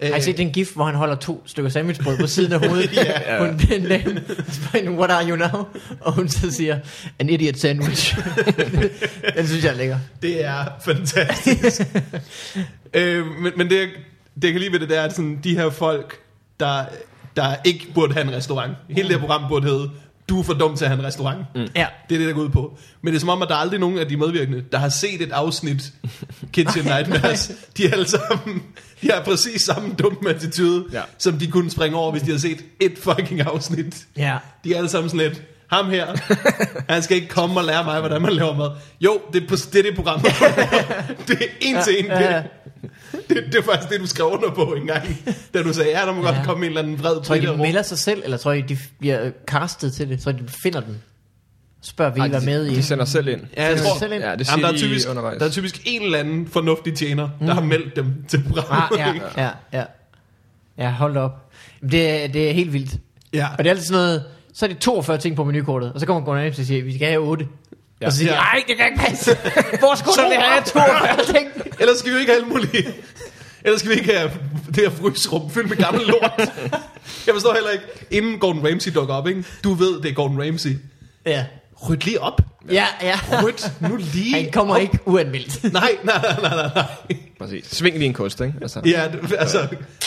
Øh, Har I set den gif, hvor han holder to stykker sandwichbrød på siden af hovedet? Ja. ja. Hun den dame spørger hende, what are you now? Og hun så siger, an idiot sandwich. den synes jeg er lækker. Det er fantastisk. øh, men, men det, jeg- det, jeg kan lide ved det, det er, at sådan, de her folk, der, der ikke burde have en restaurant. Hele det her program burde hedde, du er for dum til at have en restaurant. Mm. Ja. Det er det, der går ud på. Men det er som om, at der er aldrig er nogen af de medvirkende, der har set et afsnit Kitchen Nightmares. De er alle sammen, de har præcis samme dumme attitude, Ja. ja. som de kunne springe over, hvis de havde set et fucking afsnit. Ja. De er alle sammen sådan lidt, ham her, han skal ikke komme og lære mig, hvordan man laver mad. Jo, det er, på, det, er det program. det er en til en. Ja, ja. Det. Det, det er faktisk det, du skrev under på engang, da du sagde, ja, der må godt Ja. komme en eller anden vred Tror I, brite de over. melder sig selv, eller tror I, de bliver castet til det? Tror I, de finder den? Spørger, vil I være med i? De sender selv ind. Ja, jeg Sender tror, sig selv ind? Ja, det Jamen, siger der, er de typisk, undervejs. der er typisk en eller anden fornuftig tjener, der har meldt dem til Mm. Ah, programmet. ja, ikke? ja, ja. Ja, hold da op. Jamen, Det, er- det er helt vildt. ja. Og det er altid sådan noget, så er det 42 ting på menukortet, og så kommer Gunnar Nielsen og siger, vi skal have 8. Ja. Og så siger Ja. ja. nej, det kan ikke passe. Hvor skulle Så vi have 42 ting? Ellers skal vi jo ikke have alle mulige... Ellers skal vi ikke have det her frysrum fyldt med gammel lort. Jeg forstår heller ikke, inden Gordon Ramsay dukker op, ikke? Du ved, det er Gordon Ramsay. Ja, Ryd lige op. ja, ja. Ryd nu lige Han kommer op. ikke uanmeldt. Nej, nej, nej, nej, nej, nej. Præcis. Sving lige en kost, ikke? Altså. Ja, det- altså,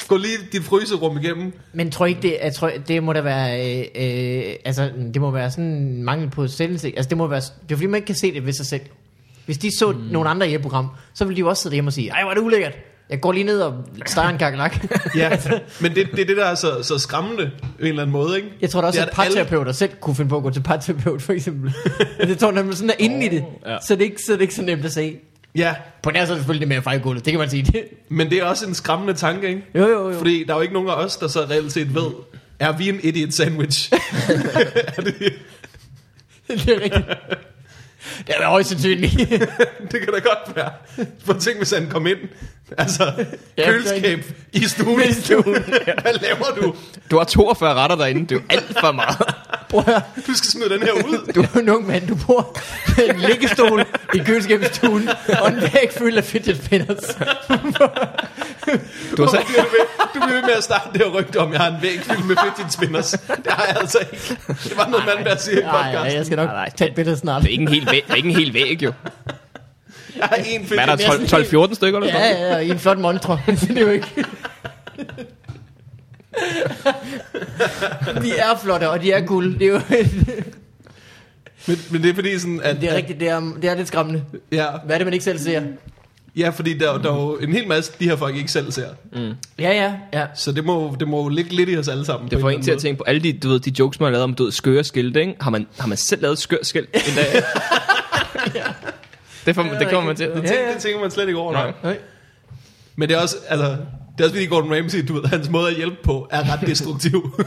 gå lige dit fryserum igennem. Men tror I ikke, det, jeg tror, det må da være, øh, øh, altså, det må være sådan en mangel på selvindsigt. Altså, det må være, det er fordi, man ikke kan se det ved sig selv. Hvis de så mm. nogle andre i et program, så ville de jo også sidde hjemme og sige, ej, hvor er det ulækkert. Jeg går lige ned og starter en Altså, kakelak. Ja, men det, det er det, der er så, så skræmmende på en eller anden måde, ikke? Jeg tror da også, Det er, at parterapeuter alle... selv kunne finde på at gå til parterapeut, for eksempel. Men det tror jeg nemlig sådan er inde i det, ja. så, det er ikke, så det er ikke så nemt at se. Ja, På den her så er det selvfølgelig det med at fejle gulvet, det kan man sige. Det. men det er også en skræmmende tanke, ikke? Jo, jo, jo. Fordi der er jo ikke nogen af os, der så reelt set ved, er vi en idiot sandwich? Er det, det er rigtigt. Det er højst sandsynligt. det kan da godt være. For tænk, hvis han kom ind. Altså, Ja, køleskab i stuen. I stuen, Hvad laver du? Du har 42 retter derinde. Det er jo alt for meget. Prøv at høre. Du skal smide den her ud. Du er jo en ung mand, du bor med en liggestol i køleskabstuen, og en væg fyldt af fidget spinners. Du har Du så, bliver, ved, du bliver ved med at starte det her rygte om, jeg har en væg fyldt med fidget spinners. Det har jeg altså ikke. Det var noget, man der siger i Nej, nej, podcasten. jeg skal nok Nej, nej. tage et billede snart. det er ikke en hel væg, det er ikke en hel væg jo. Jeg har en Hvad er fidget der 12 12-14 stykker eller Ja, sådan ja, ja, i en flot montre. det er jo ikke... de er flotte, og de er guld. Det er jo Men, men det er fordi sådan, at... det er rigtigt, det er, det er lidt skræmmende. Ja, Hvad er det, man ikke selv ser? ja fordi der, der er jo en hel masse, de her folk ikke selv ser. Ja, ja, ja. Så det må, det må jo ligge lidt i os alle sammen. på Det får en eller til at anden tænke på alle de, du ved, de jokes, man har lavet om du ved, skøre skilte, ikke? Har man, har man selv lavet et skør skilt en dag? det, får, det kommer man til. måde. Det, tænker, det tænker man slet ikke over. Nej. Nej. Men det er også, altså, det er også fordi Gordon Ramsay, du ved, hans måde at hjælpe på, er ret destruktiv.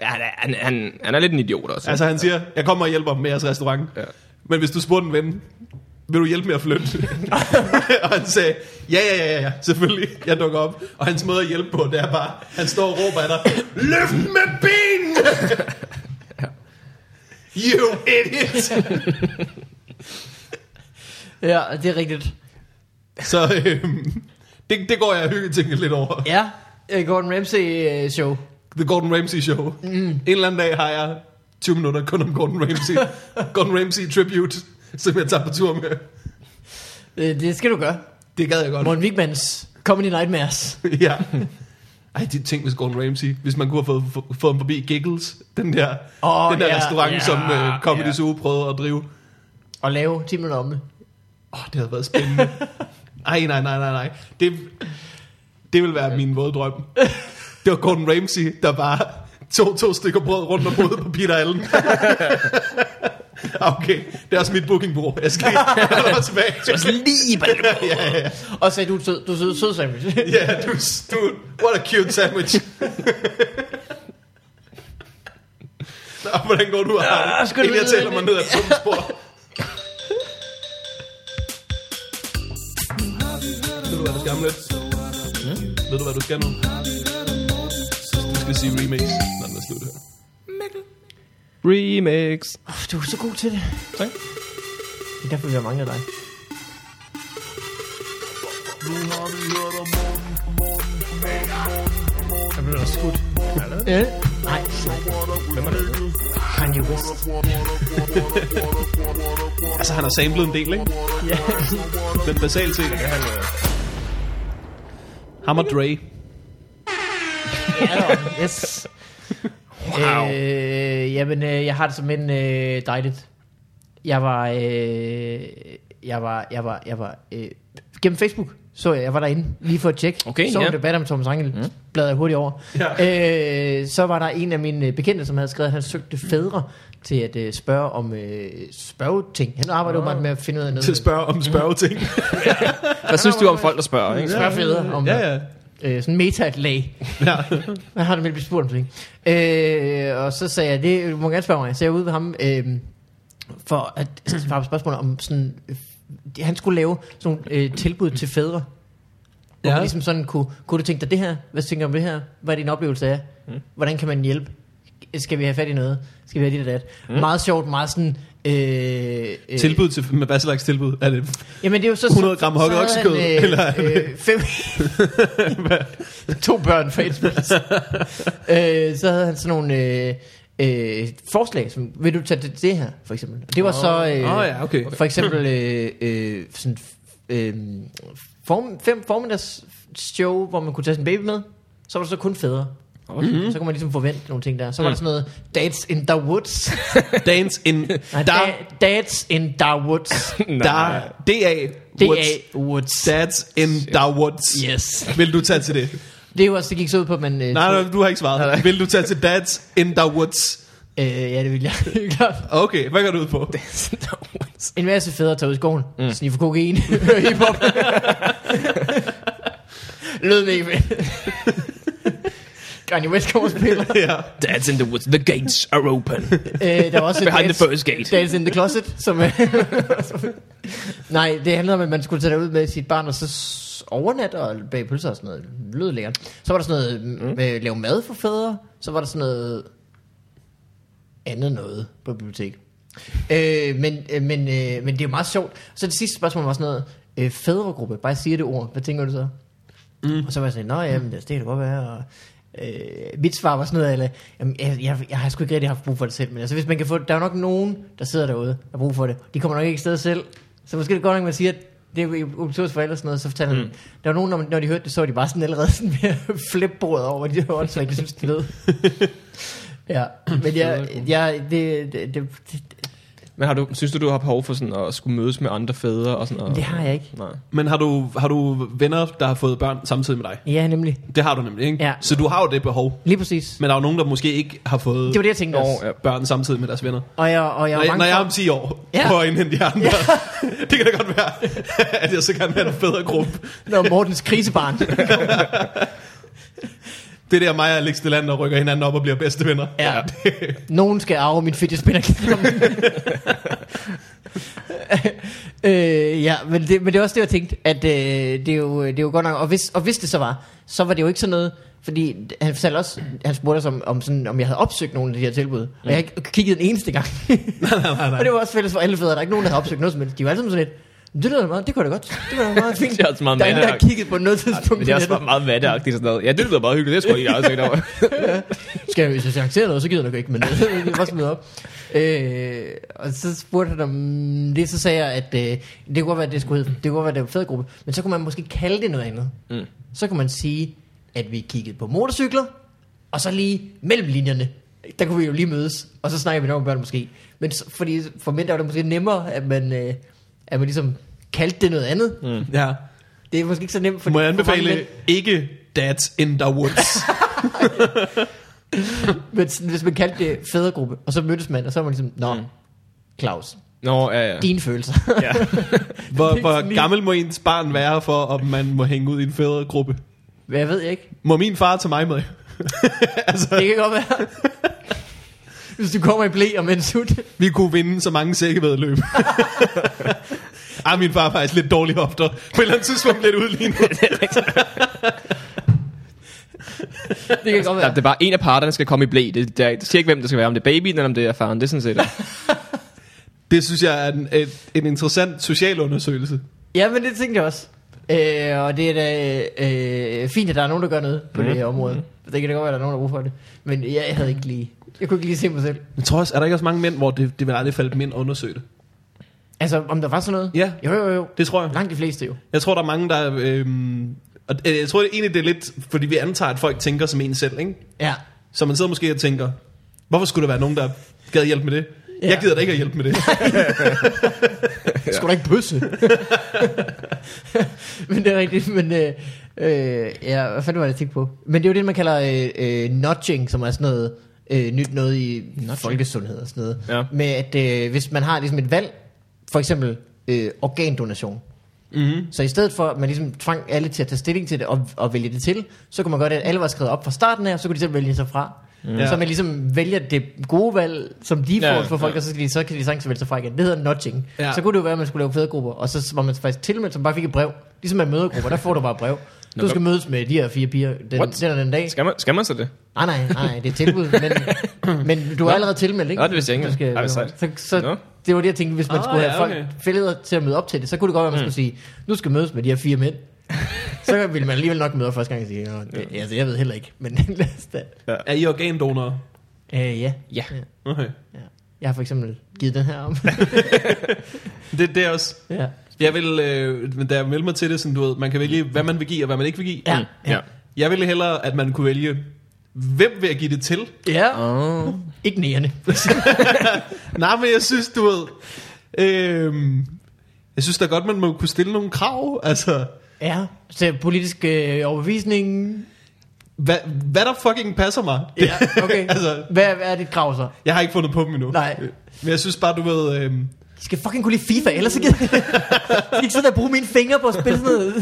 Ja, han, er- han, han, han er lidt en idiot også. altså han siger, jeg kommer og hjælper med jeres restaurant. Ja. Men hvis du spurgte en ven, vil du hjælpe med at flytte? og han sagde, ja, ja, ja, ja, ja, selvfølgelig, jeg dukker op. Og hans måde at hjælpe på, det er bare, han står og råber af dig, løft med benene! you idiot! Ja, det er rigtigt. Så øhm, det, det går jeg og hygge tænker lidt over. Ja, øh, Gordon øh, Ramsay-show. The Gordon Ramsay Show. Mm. En eller anden dag har jeg 20 minutter kun om Gordon Ramsay. Gordon Ramsay Tribute, som jeg tager på tur med. Øh, Det skal du gøre. Det gad jeg godt. Morten Wigmans Comedy Nightmares. ja. Ej, de ting med Gordon Ramsay. Hvis man kunne have fået, få- fået ham forbi Giggles, den der, Åh, oh, den der ja, restaurant, ja, som uh, Comedy ja. Zoo prøvede at drive. Åh, Og lave 10 minutter om det. oh, det havde været spændende. Ej, nej, nej, nej, nej. Det, det ville være min våde drøm. Det var Gordon Ramsay, der bare tog to stykker brød rundt og boede på Peter Allen. okay, det er også mit bookingbureau. Jeg skal lige holde mig tilbage. Også lige i ballen. ja, ja, ja. Og sagde, du er sød, du er sød, sød sandwich. Ja, du, du, what a cute sandwich. Nå, hvordan går du og har Ah, det? skal du Inden jeg vide tæller det? mig ned ad et dumt spor. Ved du, hvad du skal om lidt? Ved du, hvad du skal nu? Du skal sige remix, når den er slut her. Remix. Åh, Du er så god til det. Tak. Det er derfor, vi har mange af dig. Jeg blev da skudt. Øh? Ja. Nej, slap. Kanye West. Altså, han har samlet en del, ikke? Ja. Den basale ting. øh, Ham og Dre. Yes. Wow. Øh, jamen, øh, jeg har det som en øh, dejligt. Jeg var, øh, jeg var, jeg var, jeg var øh, gennem Facebook så jeg, jeg var derinde lige for at tjekke. Okay, så en ja. debat om Thomas Rangel, mm. bladrede jeg hurtigt over. Ja. Øh, så var der en af mine øh, bekendte, som havde skrevet, at han søgte fædre til at øh, spørge om øh, spørgeting. Han arbejder jo bare med at finde ud af noget. Til at spørge om spørgeting. Hvad synes du om folk, der spørger? Ikke? spørge fædre om ja, ja. øh, sådan meta-lag. Hvad har du vel blevet spurgt om ting? Øh, og så sagde jeg, det, du må gerne spørge mig. Så jeg var ude ved ham, øh, for at svare på spørgsmål om sådan, øh, det- han skulle lave sådan nogle, øh, tilbud til fædre. Hvor Ja. ja. man ligesom sådan kunne, kunne du tænke dig det her? Hvad tænker du om det her? Hvad er din oplevelse af? Mm. Hvordan kan man hjælpe? Skal vi have fat i noget? Skal vi have dit og dat? Mm. Meget sjovt, meget sådan... Øh, øh, Tilbud til, med hvad slags tilbud? Er det Jamen det er jo så 100 gram så- så hokket havde oksekød, han, øh, eller- øh, fem, to børn for et spis. øh, så havde han sådan nogle øh, øh, forslag, som vil du tage det, det her for eksempel. Og det var så øh, Åh, ja, okay. for eksempel øh, øh, sådan øh, form, fem formiddags show, hvor man kunne tage sin baby med. Så var der så kun fædre. Mm-hmm. Så kunne man ligesom forvente nogle ting der. Så Mm. var der sådan noget Dads in the woods Dance in Nej, Da, da, Dads in the woods da, D-A, woods. D.A. Woods Dads in Da Woods. Yes. Vil du tage til det? Det er jo også, det gik så ud på, men... Øh, Nej, tog- nej, du har ikke svaret. Vil du tage til Dads in Da Woods? Øh, ja, det vil jeg helt klart. Okay, hvad går du ud på? En masse fædre tager ud i skoven, mm. sniffer kokain, hører hiphop. Lød mega fedt. Kanye West kommer og spiller. ja. Dad's in the woods. The gates are open. øh, der var også et Behind dance- the first gate. Dance in the closet, som... øh, Nej, det handlede om, at man skulle tage derud med sit barn, og så s- overnatte og bage pølser og sådan noget. Det Lød lækkert. Så var der sådan noget mm. med at lave mad for fædre. Så var der sådan noget andet noget på biblioteket. Øh, men, øh, men, øh, men det er jo meget sjovt. Så det sidste spørgsmål var sådan noget, øh, fædregruppe, bare siger det ord, hvad tænker du så? Mm. Og så var jeg sådan, nå ja, men det kan det godt være. Og, øh, mit svar var sådan noget, eller, jamen, jeg, jeg, jeg, har sgu ikke rigtig haft brug for det selv, men altså, hvis man kan få, der er jo nok nogen, der sidder derude, der har brug for det. De kommer nok ikke sted selv. Så måske er det godt nok, man siger, at det er jo obligatorisk for eller sådan noget, så fortæller mm. han, der var nogen, når, man- når de hørte det, så var de bare sådan allerede sådan ved at flippe bordet over, de hørte, så jeg synes, det lød. Ja, men jeg, jeg det, det, det, det, Men har du, synes du, du har behov for sådan at skulle mødes med andre fædre og sådan noget? det har jeg ikke. Nej. Men har du, har du venner, der har fået børn samtidig med dig? Ja, nemlig. Det har du nemlig, ikke? Ja. Så du har jo det behov. Lige præcis. Men der er jo nogen, der måske ikke har fået Det var det, jeg tænkte Nå, også. ja. børn samtidig med deres venner. Og jeg, og jeg Når, var jeg, når bange jeg er om for, 10 år ja. Ja. prøver at indhente de andre, det kan da godt være, at jeg så gerne vil have en federe gruppe. når Mortens krisebarn. Det er der mig og Alex Delander rykker hinanden op og bliver bedste venner. Ja. Nogen skal arve min fidget spinner. øh, ja, men det, men det er også det, jeg tænkte, at øh, det, er jo, det er jo godt nok, og hvis, og hvis det så var, så var det jo ikke sådan noget, fordi han fortalte også, han spurgte os, om, om, sådan, om jeg havde opsøgt nogle af de her tilbud, og Mm. jeg har ikke kigget en eneste gang. nej, nej, nej. og det var også fælles for alle fædre, der er ikke nogen, der havde opsøgt noget som helst. De var alle sammen sådan lidt, det lyder da meget, det kunne jeg da godt, det var da meget fint. Det er altså meget der er ingen, der har mandeagtigt. kigget på noget tidspunkt. Men det på er også nettet. bare meget vatteagtigt og sådan noget. Ja, det lyder meget hyggeligt. Det tror jeg ikke, jeg har tænkt over. skal jeg, hvis jeg arrangerer noget, så gider jeg nok ikke, men det er bare smide op. Øh, og så spurgte han om det, så sagde jeg, at øh, det kunne godt være, at det skulle hedde, det kunne godt være, at det var en fed gruppe, men så kunne man måske kalde det noget andet. Mm. Så kunne man sige, at vi kiggede på motorcykler, og så lige mellem linjerne, der kunne vi jo lige mødes, og så snakker vi nok om børn måske. Men så, fordi for mænd er det måske nemmere, at man, øh, at man ligesom kaldte det noget andet. Mm. Ja. Det er måske ikke så nemt. For, Må jeg for mange anbefale mænd. ikke Dads in the Woods? Men sådan, hvis man kaldte det fædregruppe, og så mødtes man, og så var man ligesom, nå, Claus, Nå, ja, ja. dine følelser. ja. Hvor, Det er hvor sådan gammel må ens barn være for, om man må hænge ud i en federe gruppe? Hvad jeg ved jeg ikke. Må min far tage mig med? Det kan godt være. Hvis du kommer i blæ og med en sut. Vi kunne vinde så mange sækkevedløb. Ej, min far er faktisk lidt dårlig hofter. På et eller andet tidspunkt lidt udlignet. Det kan godt Der, være. det er bare en af parterne, der skal komme i blæ. Det, der, det siger ikke, hvem der skal være. Om det er babyen, eller om det er faren. Det er sådan set. Det synes jeg er en, en, en interessant social undersøgelse. Ja, men det tænkte jeg også. Øh, og det er da øh, fint, at der er nogen, der gør noget på mm. det her område. Det kan da godt være, at der er nogen, der har brug for det. Men jeg, jeg havde ikke lige... Jeg kunne ikke lige se mig selv. Jeg tror også, er der ikke også mange mænd, hvor det, det vil aldrig falde dem ind at undersøge det? Altså, om der var sådan noget? Ja. Jo, jo, jo. Det tror jeg. Langt de fleste jo. Jeg tror, der er mange, der... Øhm, og øh, jeg tror det egentlig, det er lidt, fordi vi antager, at folk tænker som en selv, ikke? Ja. Så man sidder måske og tænker, hvorfor skulle der være nogen, der gad hjælpe med det? Ja. Jeg gider da ikke at hjælpe med det. Ja. Skulle da ikke bøsse? men det er rigtigt, men... Øh, øh, ja, hvad fanden var det, jeg tænkte på? Men det er jo det, man kalder øh, øh, nudging, som er sådan noget øh, nyt noget i nudging. folkesundhed og sådan noget. Ja. Med at øh, hvis man har ligesom et valg, for eksempel øh, organdonation, Mhm. Mm-hmm. Så i stedet for, at man ligesom tvang alle til at tage stilling til det og, og vælge det til, så kunne man gøre det, at alle var skrevet op fra starten af, og så kunne de selv vælge sig fra. Mm. Så man ligesom vælger det gode valg som default Mhm. Ja, ja, for folk, ja. ja. og så, skal de, så kan de sagtens vælge sig fra igen. Det hedder nudging. Ja. Ja. Så kunne det jo være, at man skulle lave fædregrupper, og så var man faktisk tilmeldt, så man bare fik et brev. Ligesom med mødergrupper, der får du bare et brev. Du skal mødes med de her fire piger den, What? den, og den dag. Skal man, skal man så det? Nej, nej, nej, nej, det er tilbud, men, men du er allerede tilmeldt, ikke? Nå, det vidste jeg ikke Du skal- engang. Ej, hvor så, så Nå. det var det, jeg tænkte, hvis man Ah, oh, skulle ja, have okay. folk fælder til at møde op til det, så kunne det godt være, at man mm. skulle sige, nu skal mødes med de her fire mænd. så ville man alligevel nok møde op første gang og sige, Nå, det, altså, jeg ved heller ikke, men lad os da. Er I organdonorer? Øh, ja. Ja. Okay. ja. Jeg har for eksempel givet den her om. Det, det er også... ja. Jeg vil, øh, men da jeg meldte mig til det, sådan, du ved, man kan vælge, hvad man vil give, og hvad man ikke vil give. Mm. Ja. Mm. Ja. Jeg ville hellere, at man kunne vælge, hvem vil jeg give det til? ja. Oh. Ikke nærende. Nej, men jeg synes, du ved... Øh, jeg synes da godt, man må kunne stille nogle krav. Altså, ja. Så politisk øh, overbevisning. hvad, hvad der fucking passer mig. Ja, okay. altså, hvad, hvad er dit krav så? jeg har ikke fundet på dem endnu. Nej. Øh, Men jeg synes bare, du ved... Øh, De skal fucking kunne lide FIFA, ellers så gider jeg skal ikke sidde og bruge mine fingre på at spille sådan noget.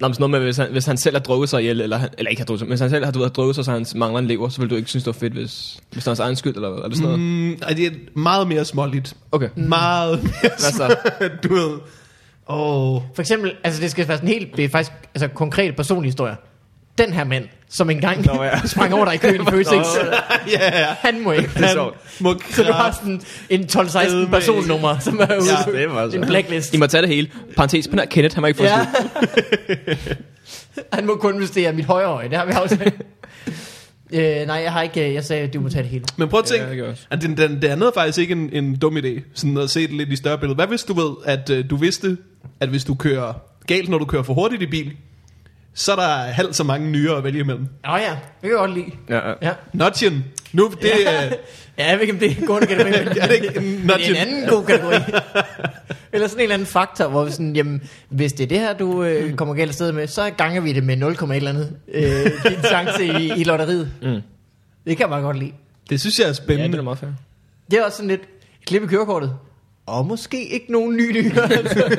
Nå, men sådan noget med, hvis han, hvis han selv har drukket sig ihjel, eller, han, eller ikke har drukket sig, men hvis han selv har du ved, har drukket sig, så han mangler en lever, så vil du ikke synes, det var fedt, hvis, hvis det er hans egen skyld, eller hvad? Er det sådan noget? mm, ej, det er meget mere småligt. Okay. Mm. Meget mere Hvad så? småligt, du ved. Åh... Oh. For eksempel, altså det skal være sådan helt, det er faktisk altså, konkret personlig historie. Den her mand, som engang Nå, ja. ja. sprang over dig i køen i Føtex, ja, ja. han må ikke. Det er Han, sjovt. Må så du har sådan en 12-16 Edme. personnummer, som er ude. Ja, det var så. En blacklist. I må tage det hele. Parenthes, på nær Kenneth, han var ikke fået Ja. ja. han må kun, hvis det er mit højre øje. Det har vi aftalt. øh, nej, jeg har ikke, øh, jeg sagde, at du må tage det hele. Men prøv at tænke, Ja, det gør jeg også. at den, den, det andet er faktisk ikke en, en dum idé, sådan at se det lidt i større billede. Hvad hvis du ved, at øh, du vidste, at hvis du kører galt, når du kører for hurtigt i bil, så er der halvt så mange nyere at vælge imellem. Åh oh, ja, det kan jeg godt lide. Ja, ja. Ja. Notchen, nu det, ja. øh, ja, jeg ved ikke, om det er en god kategori. men- er det ikke en Men det er en notchen? anden god kategori. eller sådan en eller anden faktor, hvor vi sådan, jamen, hvis det er det her, du øh, kommer galt afsted med, så ganger vi det med 0, et eller andet. Øh, din chance i, i lotteriet. Mm. Det kan man godt lide. det synes jeg er ja, det spændende. er meget fair. Det er også sådan lidt klip i kørekortet. Og måske ikke nogen ny nyheder. altså.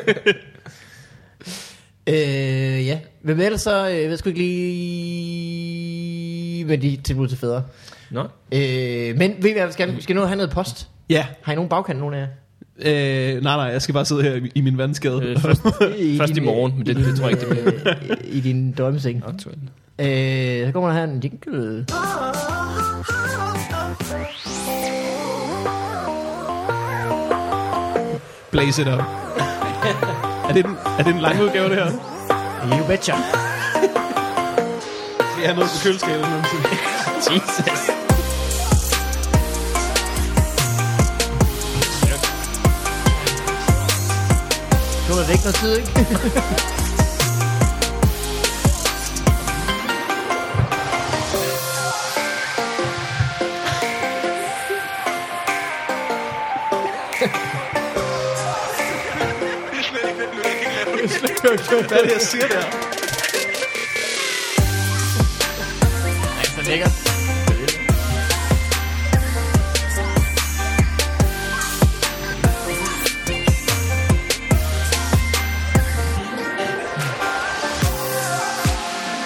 øh, ja. Men ellers så, øh, jeg skulle ikke lige med de tilbud til fædre. Nå. Øh, men ved I hvad, vi skal, skal I nå at have noget post? ja, Har I nogen bagkant, nogen af jer? øh, nej nej, jeg skal bare sidde her i, i min vandskade. Øh, først, I først i din, morgen, men det, det tror jeg ikke, det bliver øh, I din drømmeseng. aktuelt. Øh, så kommer der her en jingle. Blaze it up. er, det en, er det en lang udgave det her? You betcha. Vi har noget på køleskabet. nemlig. Jesus. Nu er der væk noget tid, ikke? Hvad er det, jeg siger der? Så lækkert.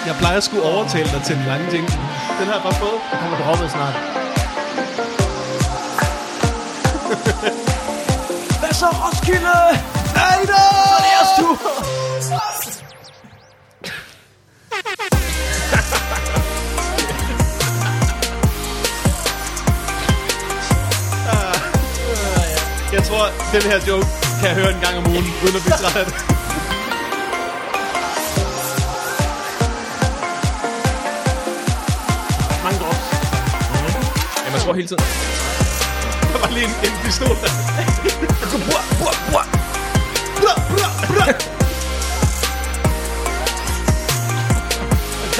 Jeg plejer sgu overtale dig til en lang ting. Den har jeg bare fået. Han var droppet snart. Hvad så, Roskilde? Nej, da! Det er stor. Jeg tror, den her joke kan jeg høre en gang om ugen, uden at blive træt af det. Mange drops. Jamen, jeg tror hele tiden. Der var lige en, en pistol der. Brr, brr, brr. Brr, brr, brr.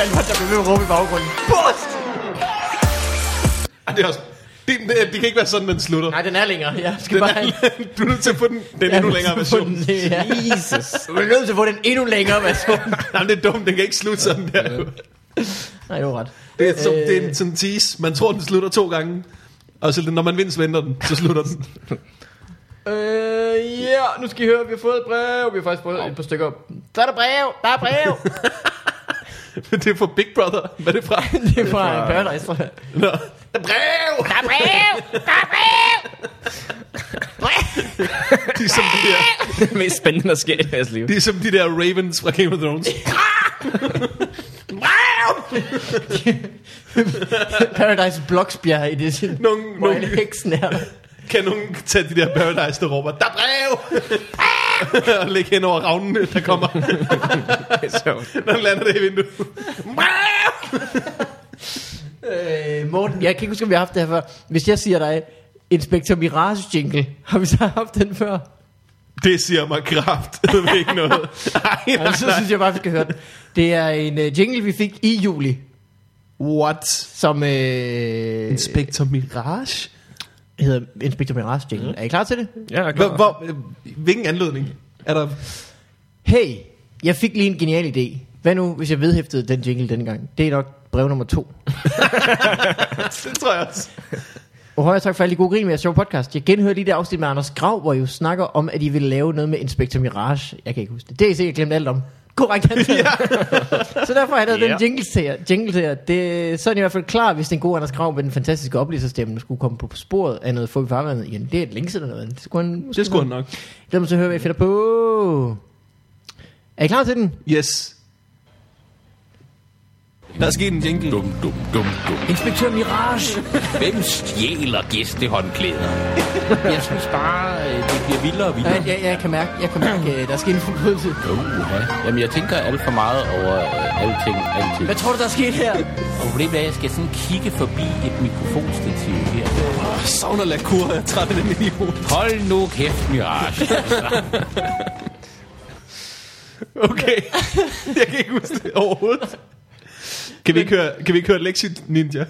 Danmark, der blev ved med at råbe i baggrunden. Post! Ej, det er også... Det, det, det kan ikke være sådan, den slutter. Nej, den er længere. Jeg skal Den bare... er, du er nødt til at få den, den Jeg endnu er længere nødt til at få version. den- Ja. Jesus. Du er nødt til at få den endnu længere version. Jamen, det er dumt, den kan ikke slutte sådan der. jo. Nej, du er ret. Det er, som, det Øh. er en sådan tease. Man tror, den slutter to gange. Og så når man vins venter den, så slutter den. Øh, ja, nu skal I høre, vi har fået et brev. Vi har faktisk fået et par stykker. Der er der brev, der er brev. det er fra Big Brother. Hvad er det fra? det er fra Paradise, tror jeg. Nå. Der er brev! Der er brev, der er brev. De er som de der, det mest spændende, der sker i deres liv. de, er som de der Ravens fra Game of Thrones. Paradise Bloksbjerg i det sin. Nogle, Hvor alle nogle, heksen er der. kan nogen tage de der Paradise, der råber, der er brev! og lægge hen over ravnene, der kommer, Det er sjovt. når den lander det i vinduet. brev! Øh, Morten, jeg kan ikke huske, om vi har haft det her før. Hvis jeg siger dig, Inspektor Mirage jingle, har vi så haft den før? Det siger mig kraft. Det er ikke noget. Ej, nej, Altså, så nej. synes jeg bare, vi skal høre den. Det er en øh, jingle, vi fik i juli, What? som øh, Inspektor Mirage? hedder Inspektor Mirage jingle. Er I klar til det? Ja, jeg er Hvor, klar. hvor, øh, hvilken anledning er der? Hey, jeg fik lige en genial idé. Hvad nu, hvis jeg vedhæftede den jingle dengang? Det er nok brev nummer to. Det tror jeg også. Og højere tak for alle de gode grin med jeres sjov podcast. Jeg genhørte lige det afsnit med Anders Grav, hvor I jo snakker om, at I ville lave noget med Inspector Mirage. Jeg kan ikke huske det. Det er I sikkert glemt alt om. Korrekt antaget. så derfor har jeg lavet Ja. den jingle til jer. Jingle til jer. Det, så er den i hvert fald klar, hvis den gode Anders Grav med den fantastiske oplevelserstemme skulle komme på sporet af noget få i farvandet. Igen, det er et længe siden eller noget. Det skulle han, Det skulle han nok. Lad mig så høre, hvad I finder på. Er I klar til den? Yes. Der er sket en jingle. Dum, dum, dum, dum. Inspektør Mirage, Hvem stjæler gæstehåndklæder? Jeg synes bare, øh, det bliver vildere Ja, og vildere. jeg, jeg, kan mærke, jeg kan mærke, øh, der er sket en forbrydelse. Uh, Jamen, jeg tænker alt for meget over øh, alting, alting. hvad tror du, der er sket her? Problemet er, at jeg skal sådan kigge forbi et mikrofonstativ her. Jeg savner lakur, jeg er træt af den video. Hold nu kæft, Mirage. Okay. Jeg kan ikke huske det overhovedet. Kan vi ikke høre, kan vi ikke høre Lexi Ninja?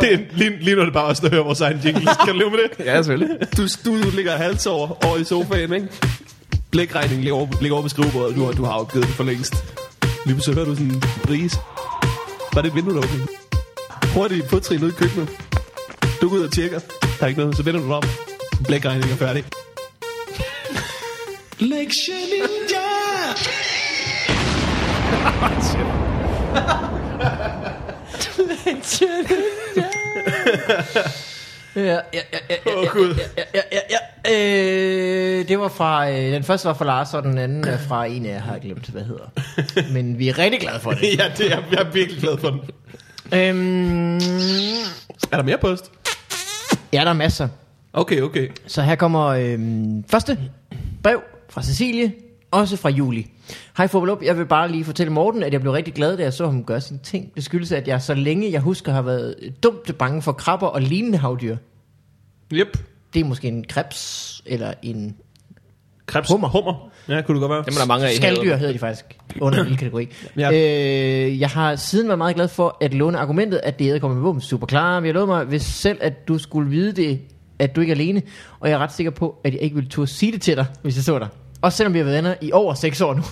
Det er lige, lige nu er det bare os, der hører vores egen jingle. Kan du leve med det? Ja, selvfølgelig. Du, du ligger hals over, over i sofaen, ikke? Blækregningen ligger over, ligger over på skrivebordet nu, og du har opgivet det for længst. Lige pludselig hører du sådan en bris. Var det et vindue, der åbnede? Hurtigt på trin ud i køkkenet. Du går ud og tjekker. Der er ikke noget. Så vender du dig om. Blækregningen er færdig. Lektion Ninja! Øh, Ja, ja, ja, ja, ja, Åh, Gud. ja, ja, ja, ja. Øh, det var fra, øh, den første var fra Lars, og den anden er fra en af jer, har jeg glemt, hvad hedder. Men vi er rigtig glade for det. ja, det er, jeg er virkelig glad for den. øhm, Er der mere post? ja, der er masser. Okay, okay. Så her kommer øhm, første brev fra Cecilie, også fra Juli. Hej Fobel op, jeg vil bare lige fortælle Morten, at jeg blev rigtig glad, da jeg så ham gøre sine ting. Det skyldes, at jeg så længe jeg husker har været dumt bange for krabber og lignende havdyr. Yep. Det er måske en krebs, eller en Krebs. Hummer. Hummer. Ja, kunne det godt være. Dem er der mange af i havet. Skaldyr hedder de faktisk under en lille kategori. Ja. ja. øh, jeg har siden været meget glad for at låne argumentet, at det er kommer med våben. Super klar, men jeg lovede mig hvis selv, at du skulle vide det, at du ikke er alene. Og jeg er ret sikker på, at jeg ikke ville turde sige det til dig, hvis jeg så dig. Også selvom vi har været venner i over 6 år nu.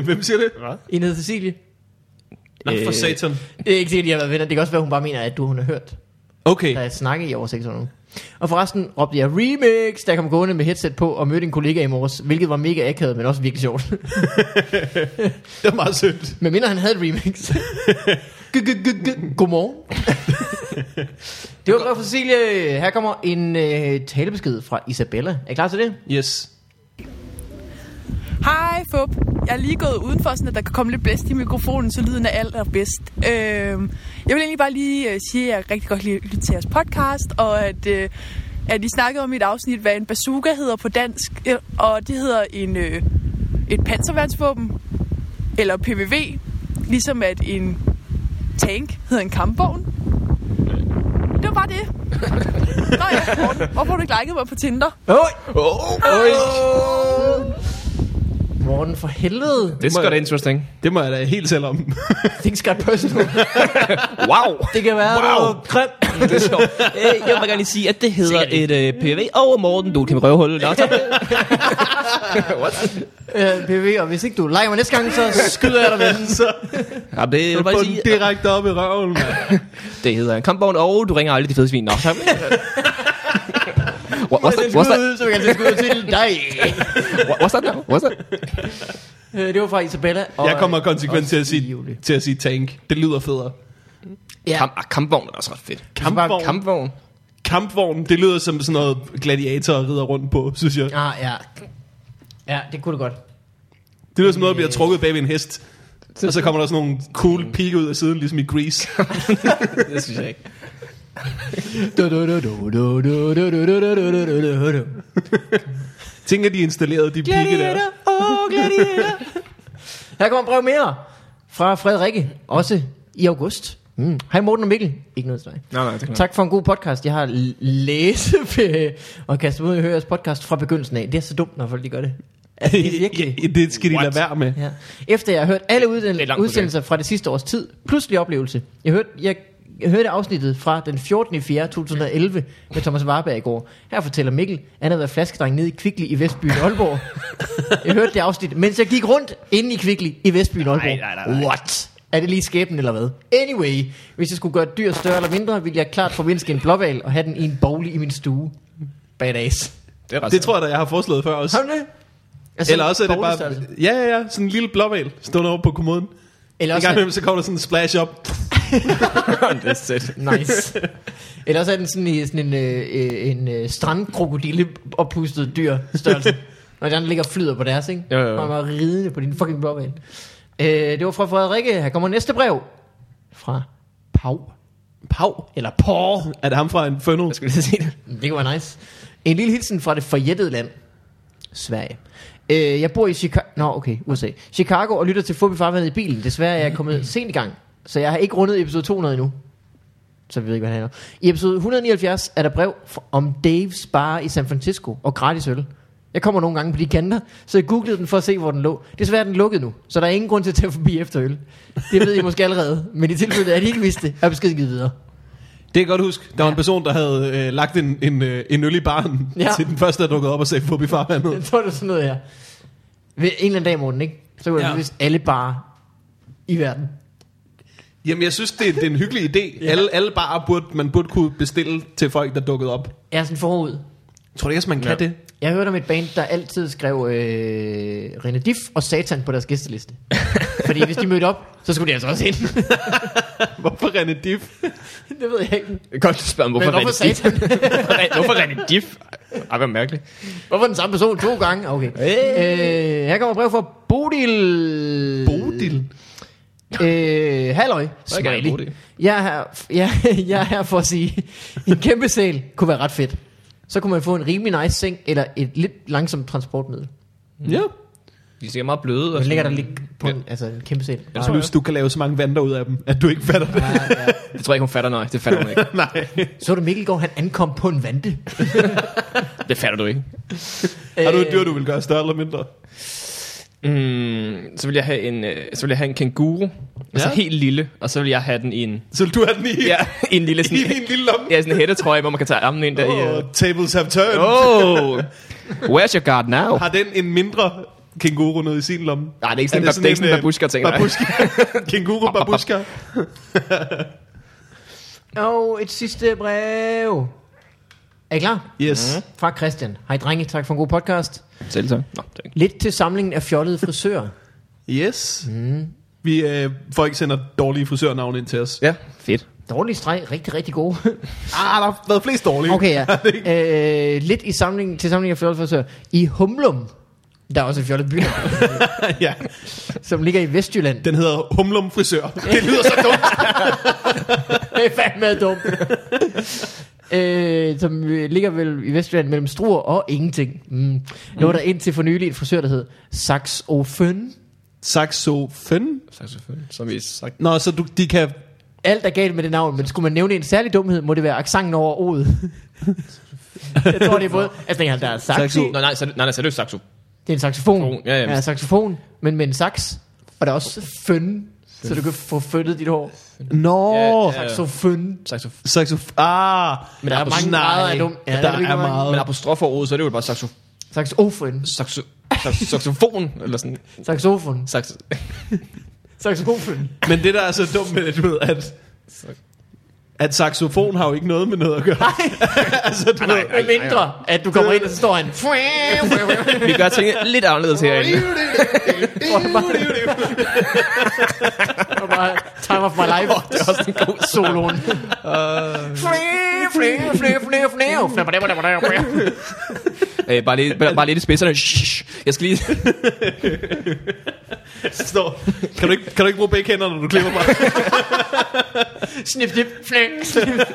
Hvem siger det? Hvad? en hedder Cecilie. Nå, for Øh, satan. Det er ikke sikkert, at de har været venner. Det kan også være, at hun bare mener, at du hun har hørt Okay. der jeg snakke i over 6 år nu. Og forresten råbte jeg remix, der kom gående med headset på og mødte en kollega i morges, hvilket var mega akavet, men også virkelig sjovt. Det er meget sødt. Men mindre han havde et remix. G- g- g- g- Godmorgen. det var brev fra Cecilie. Her kommer en øh, talebesked fra Isabella. Er I klar til det? Yes. Hej, Fup. Jeg er lige gået udenfor, sådan at der kan komme lidt blæst i mikrofonen, så lyden er allerbedst. Øhm, jeg vil egentlig bare lige øh, sige, at jeg rigtig godt lide at lytte til jeres podcast, og at, øh, at I snakkede om i et afsnit, hvad en bazooka hedder på dansk, øh, og det hedder en, øh, et panserværnsvåben, eller PVV, ligesom at en tank hedder en kampvogn. Det var bare det. Nå ja, Morten, hvorfor har du ikke liket mig på Tinder? Oj! Oh, oh, oh. Morten, for helvede. This Må got jeg- interesting. Det må jeg da helt selv om. Things got personal. Wow! Det kan være, wow. du grim. det er sjovt. Øh, jeg vil bare gerne lige sige, at det hedder et øh, PV over Morten. Du kan røvhullet. Nå, tak. Øh, PV, og hvis ikke du leger mig næste gang, så skyder jeg dig med den. Ja, det, jeg vil Få bare den sige, direkte op i røven, mand. det hedder en kampvogn, og du ringer aldrig de fede svin. Nå, tak. What, what's, that, what's, that, Så kan jeg skyde til dig. what's that now? What's that? Øh, Det var fra Isabella. Og, Jeg kommer og konsekvent til at i juli. sige, til at sige tank. Det lyder federe. Ja. Kamp, ah, kampvogn er også ret fedt. Kampvogn. Kamp. Kampvogn. Kampvogn, det lyder som sådan noget gladiator rider rundt på, synes jeg. Ah, ja. Ja, det kunne du godt. Det lyder som noget, der bliver trukket bag ved en hest. Og så kommer der sådan nogle cool pigge ud af siden, ligesom i Grease. Det synes jeg ikke. Du, du, du, du, du, du, du, du, du, du, du, du, du, du, du. Tænk, at de installerede de pigge der. Gladiator, åh, gladiator. Her kommer et brev mere fra Frederikke, også i august. Mm. Hej Morten og Mikkel. Ikke noget til dig. Nej, nej, det er klart. Tak for en god podcast. Jeg har l- læseferie og kastet ud i høre jeres podcast fra begyndelsen af. Det er så dumt, når folk de gør det. Altså, det er virkelig... Ja, det skal de lade være med. Ja. Efter jeg har hørt alle udden- langt udsendelser fra det sidste års tid, pludselig oplevelse. Jeg hørte, jeg, jeg hørte afsnittet fra den 14. 4. 2011 med Thomas Warberg i går. Her fortæller Mikkel, han havde været flaskedreng nede i Kvickly i Vestbyen Aalborg. jeg hørte det afsnit, mens jeg gik rundt inde i Kvickly i Vestbyen Aalborg. nej, nej, nej. What? Er det lige skæbnen eller hvad? Anyway, hvis jeg skulle gøre et dyr større eller mindre, ville jeg klart forvinske en blåval og have den i en bolig i min stue. Badass. Det, er ret Det tror jeg da, jeg har foreslået før også. Har du det? Altså, Eller også er det bare... bowlestørrelse. Ja, ja, ja. Sådan en lille blåval stående over på kommoden. Eller En også gang imellem, så kommer der sådan en splash op. jeg. det er sæt. Nice. Ellers er den sådan, i, sådan en, øh, øh, en øh, strandkrokodille oppustet dyr størrelse. Når den ligger og flyder på deres, ikke? Jo, jo, jo. Og man ridende på din fucking blåval. Øh, det var fra Frederikke. Her kommer næste brev. Fra Pau. Pau. Eller Paw. Er det ham fra en fønno? Jeg skulle lige sige det. Det kunne være nice. En lille hilsen fra det forjættede land. Sverige. Øh, jeg bor i Chicago. Nå, okay, USA. Chicago og lytter til Fubi Farvandet i bilen. Desværre er jeg kommet sent i gang, så jeg har ikke rundet episode 200 endnu. Så vi ved ikke, hvad han er. I episode 179 er der brev fra- om Dave's Bar i San Francisco og gratis øl. Jeg kommer nogle gange på de kanter, så jeg googlede den for at se, hvor den lå. Desværre er den lukket nu, så der er ingen grund til at tage forbi efter øl. Det ved I måske allerede, men i tilfælde af, at I ikke vidste det, er beskeden givet videre. Det kan jeg godt huske. Der var en person, der havde øh, lagt en, en, øh, en øl i baren Ja. ja. til den første, der dukkede op og sagde Fubi Jeg farvandet. tror, det er sådan noget her. Ved en eller anden dag, Morten, ikke? Så kunne ja. Ja. hvis alle bare i verden. Jamen, jeg synes, det er, det er en hyggelig idé. ja. alle, alle barer burde, man burde kunne bestille til folk, der dukkede op. Jeg er sådan forud. Tror du ikke, at man kan Ja. ja. det? Jeg hørte om et band, der altid skrev øh, René Diff og Satan på deres gæsteliste. Fordi hvis de mødte op, så skulle de altså også ind. Hvorfor René Diff? det ved jeg ikke. Godt, du spørger, hvorfor, Men hvorfor René Diff? Satan? hvorfor er det diff? Ej, hvor mærkeligt. hvorfor den samme person to gange? Okay. Øh, her kommer et brev fra Bodil. Bodil? Øh, halløj, Hvad kan jeg bruge smiley. det? Jeg er, her, jeg, jeg er her for at sige, en kæmpe sal kunne være ret fedt. Så kunne man få en rimelig nice seng, eller et lidt langsomt transportmiddel. Ja. De er sikkert meget bløde. Man Og ligger der sådan. lidt på en, altså en kæmpe sal. Jeg synes, du kan lave så mange vandter ud af dem, at du ikke fatter det. Det tror jeg ikke, hun fatter, nej. Det fatter hun ikke. Nej. Så du Mikkel går, han ankom på en vante. Det fatter du ikke. Har Øh, du et dyr, du vil gøre større eller mindre? Mm, så vil jeg have en, øh, så vil jeg have en kænguru. Ja. Så Ja. helt lille, og så vil jeg have den i en, Så vil du have den i, ja, ja. i en lille i sådan, din lille lomme? ja, sådan en hættetrøje, hvor man kan tage armen ind der i. Yeah. øh. Oh, tables have turned. Oh. Oh, where's your guard now? Har den en mindre kænguru nede i sin lomme? Nej, det er ikke sådan, er det sådan, det er ikke sådan en babushka-ting. nej. øh, Babushka. kænguru babushka. Og et sidste brev. Er I klar? Yes. Mm. Fra Christian. Hej drenge, tak for en god podcast. Selv tak. Nå, det er ikke. Lidt til samlingen af fjollede frisører. Mhm. Yes. Mm. Mhm. Vi, øh, folk sender dårlige frisørnavne ind til os. Ja, fedt. Dårlig streg, rigtig, rigtig gode. Ah, der har været flest dårlige. Okay, ja. øh, lidt i samling, til samling af fjollet frisør. I Humlum, der er også en fjollet by, ja. som ligger i Vestjylland. Den hedder Humlum Frisør. Det lyder så dumt. Det er fandme dumt. øh, som øh, ligger vel i Vestjylland mellem Struer og ingenting. Mm. Lå der indtil for nylig en frisør, der hed Saxoføn. Saxofen? Tak selvfølgelig. Som vi sagt. Nå, så du, de kan... Alt er galt med det navn, men skulle man nævne en særlig dumhed, må det være accenten over ordet. jeg tror, det er både... Altså, der er saxo. Nå, nej, så, nej, nej, så er det jo saxo. Det er en saxofon. Saxofon, ja, ja. ja saxofon, men med en sax. Og der er også føn, så du kan få fønnet dit hår. Nå, Ja, ja. Saxoføn. Saxof- saxof... Ah, Men der er mange nej. grader af dum. Ja, Ja, der der er virkelig er mange. meget. Men apostroforordet, så er det jo bare saxo, Saxofon. saxo, saxo, saxofon, eller sådan, Saxofon. saxo, Saxofon. Men det der er så dumt med det, du ved, at... At saxofon har jo ikke noget med noget at gøre. altså, du ved, Med mindre, at du kommer ind, og så står han. vi gør tingene lidt anderledes herinde. Og bare, time of my life. det er også en god soloen. Øh, bare, lidt, bare, bare lidt i spidserne. Shh, shh. Jeg skal lige... står, kan, du ikke, kan du ikke bruge begge hænder, når du klipper mig? Snip, snip, fnæk, snip.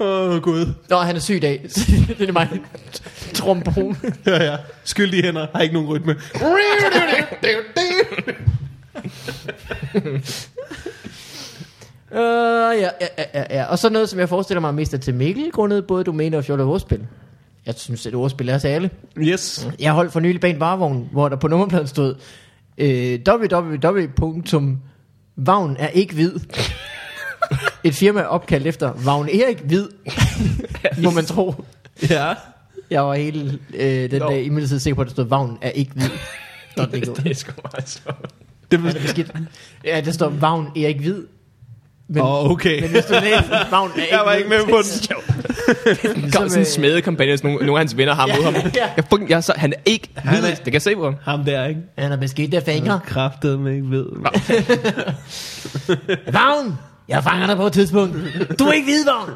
Åh, oh, Gud. Nå, han er syg i dag. det er mig. Trombone. Ja, ja. Skyldige hænder har ikke nogen rytme. Uh, ja, ja, ja, ja, ja. Og så noget, som jeg forestiller mig mest er til Mikkel, grundet både domæne og fjollet ordspil. Jeg synes, at ordspil er til alle. Yes. Jeg holdt for nylig bag en varevogn, hvor der på nummerpladen stod øh, www.vagn er ikke hvid. Et firma opkaldt efter Vagn Erik Hvid, må man tro. Ja. Jeg var hele øh, den dag imidlertid sikker på, at der stod Vagn er ikke hvid. Nå, det, er det sgu meget sjovt. Det er beskidt. Ja, der står Vagn Erik Hvid. Men, Åh, oh, okay. men hvis du læser Vagn er ikke øh, Jeg var ikke med på den. Kom, sådan en smedekampagne, så nogle, nogle af hans venner har mod ham. Ja. Jeg, fucking, jeg, er så, han er ikke Han er- hvid. Det kan jeg se på ham. Ham der, ikke? Han har beskidt af fingre. Kræftet med ikke ved. Vagn! Jeg fanger dig på et tidspunkt. Du er ikke hvid, Vagn!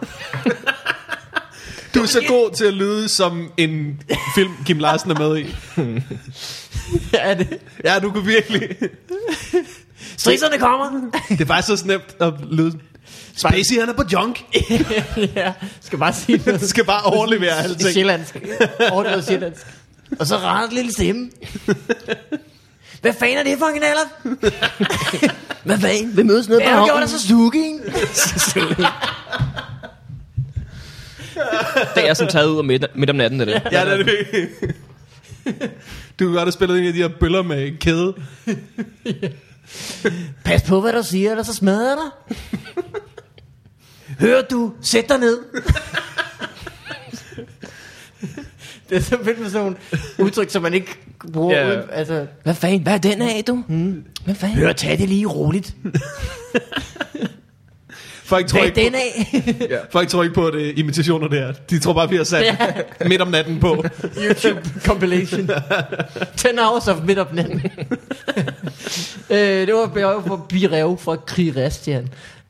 Du er så god til at lyde som en film, Kim Larsen er med i. Ja, det. Ja, du kunne virkelig. Strisserne kommer! Det er faktisk så nemt at lyde. Spacey, han er på junk. ja, skal bare sige noget. Du skal bare overlevere alting. Sjællandsk. Overdrevet sjællandsk. Og så rart lille stemme. Hvad fanden er det for en knaller? Hvad fanden? Vi mødes nede på havnen. Hvad gjorde der så suging? Det er sådan taget ud om midt, midt om natten, det der. Ja, det er det virkelig. Du kunne godt have spillet en af de her bøller med kæde. Pas på, hvad du siger, eller så smadrer jeg dig. Hør du, sæt dig ned. det er så fedt med sådan nogle udtryk, som man ikke bruger. Ja. Yeah. Uden, altså, Hvad fanden? Hvad er den af, du? Hvad fanden? Hmm. hør, tag det lige roligt. Folk tror, Tag ikke, den af. folk tror ikke på, at det er imitationer, det her. De tror bare, vi har sat midt om natten på. YouTube compilation. 10 hours of midt op natten. øh, det var Bjerg for Birev fra Kristian.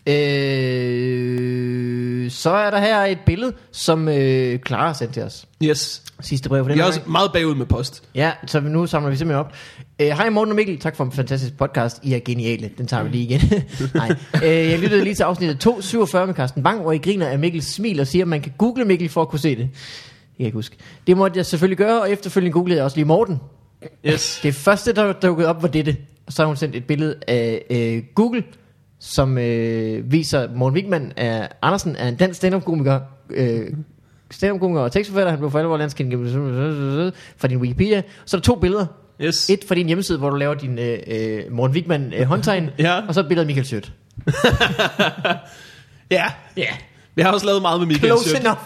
Øh, så er der her et billede, som øh, Clara sendte til os. Yes. Sidste brev for den Jeg her er gang. også meget bagud med post. Ja, så vi- nu samler vi simpelthen op. Øh, Hej Morten og Mikkel, tak for en fantastisk podcast. I er geniale. Den tager vi lige igen. Nej. Øh, jeg lyttede lige til afsnittet 247 med Carsten Bang, hvor I griner af Mikkels smil og siger, at man kan google Mikkel for at kunne se det. Jeg kan ikke huske. Det måtte jeg selvfølgelig gøre, og efterfølgende googlede jeg også lige Morten. Yes. Det første, der dukkede op, var dette. Og så har hun sendt et billede af øh, Google, som øh, viser Morten Wigman af Andersen er en dansk stand-up-komiker. Øh, stand-up-komiker og tekstforfatter. Han blev for alvor landskendt gennem- fra din Wikipedia. Så er der to billeder. Yes. Et fra din hjemmeside, hvor du laver din øh, øh, Morten Wigman øh, håndtegn. Ja. Og så et billede af Michael Sødt. Ja. Ja. Jeg har også lavet meget med Michael Close Close enough.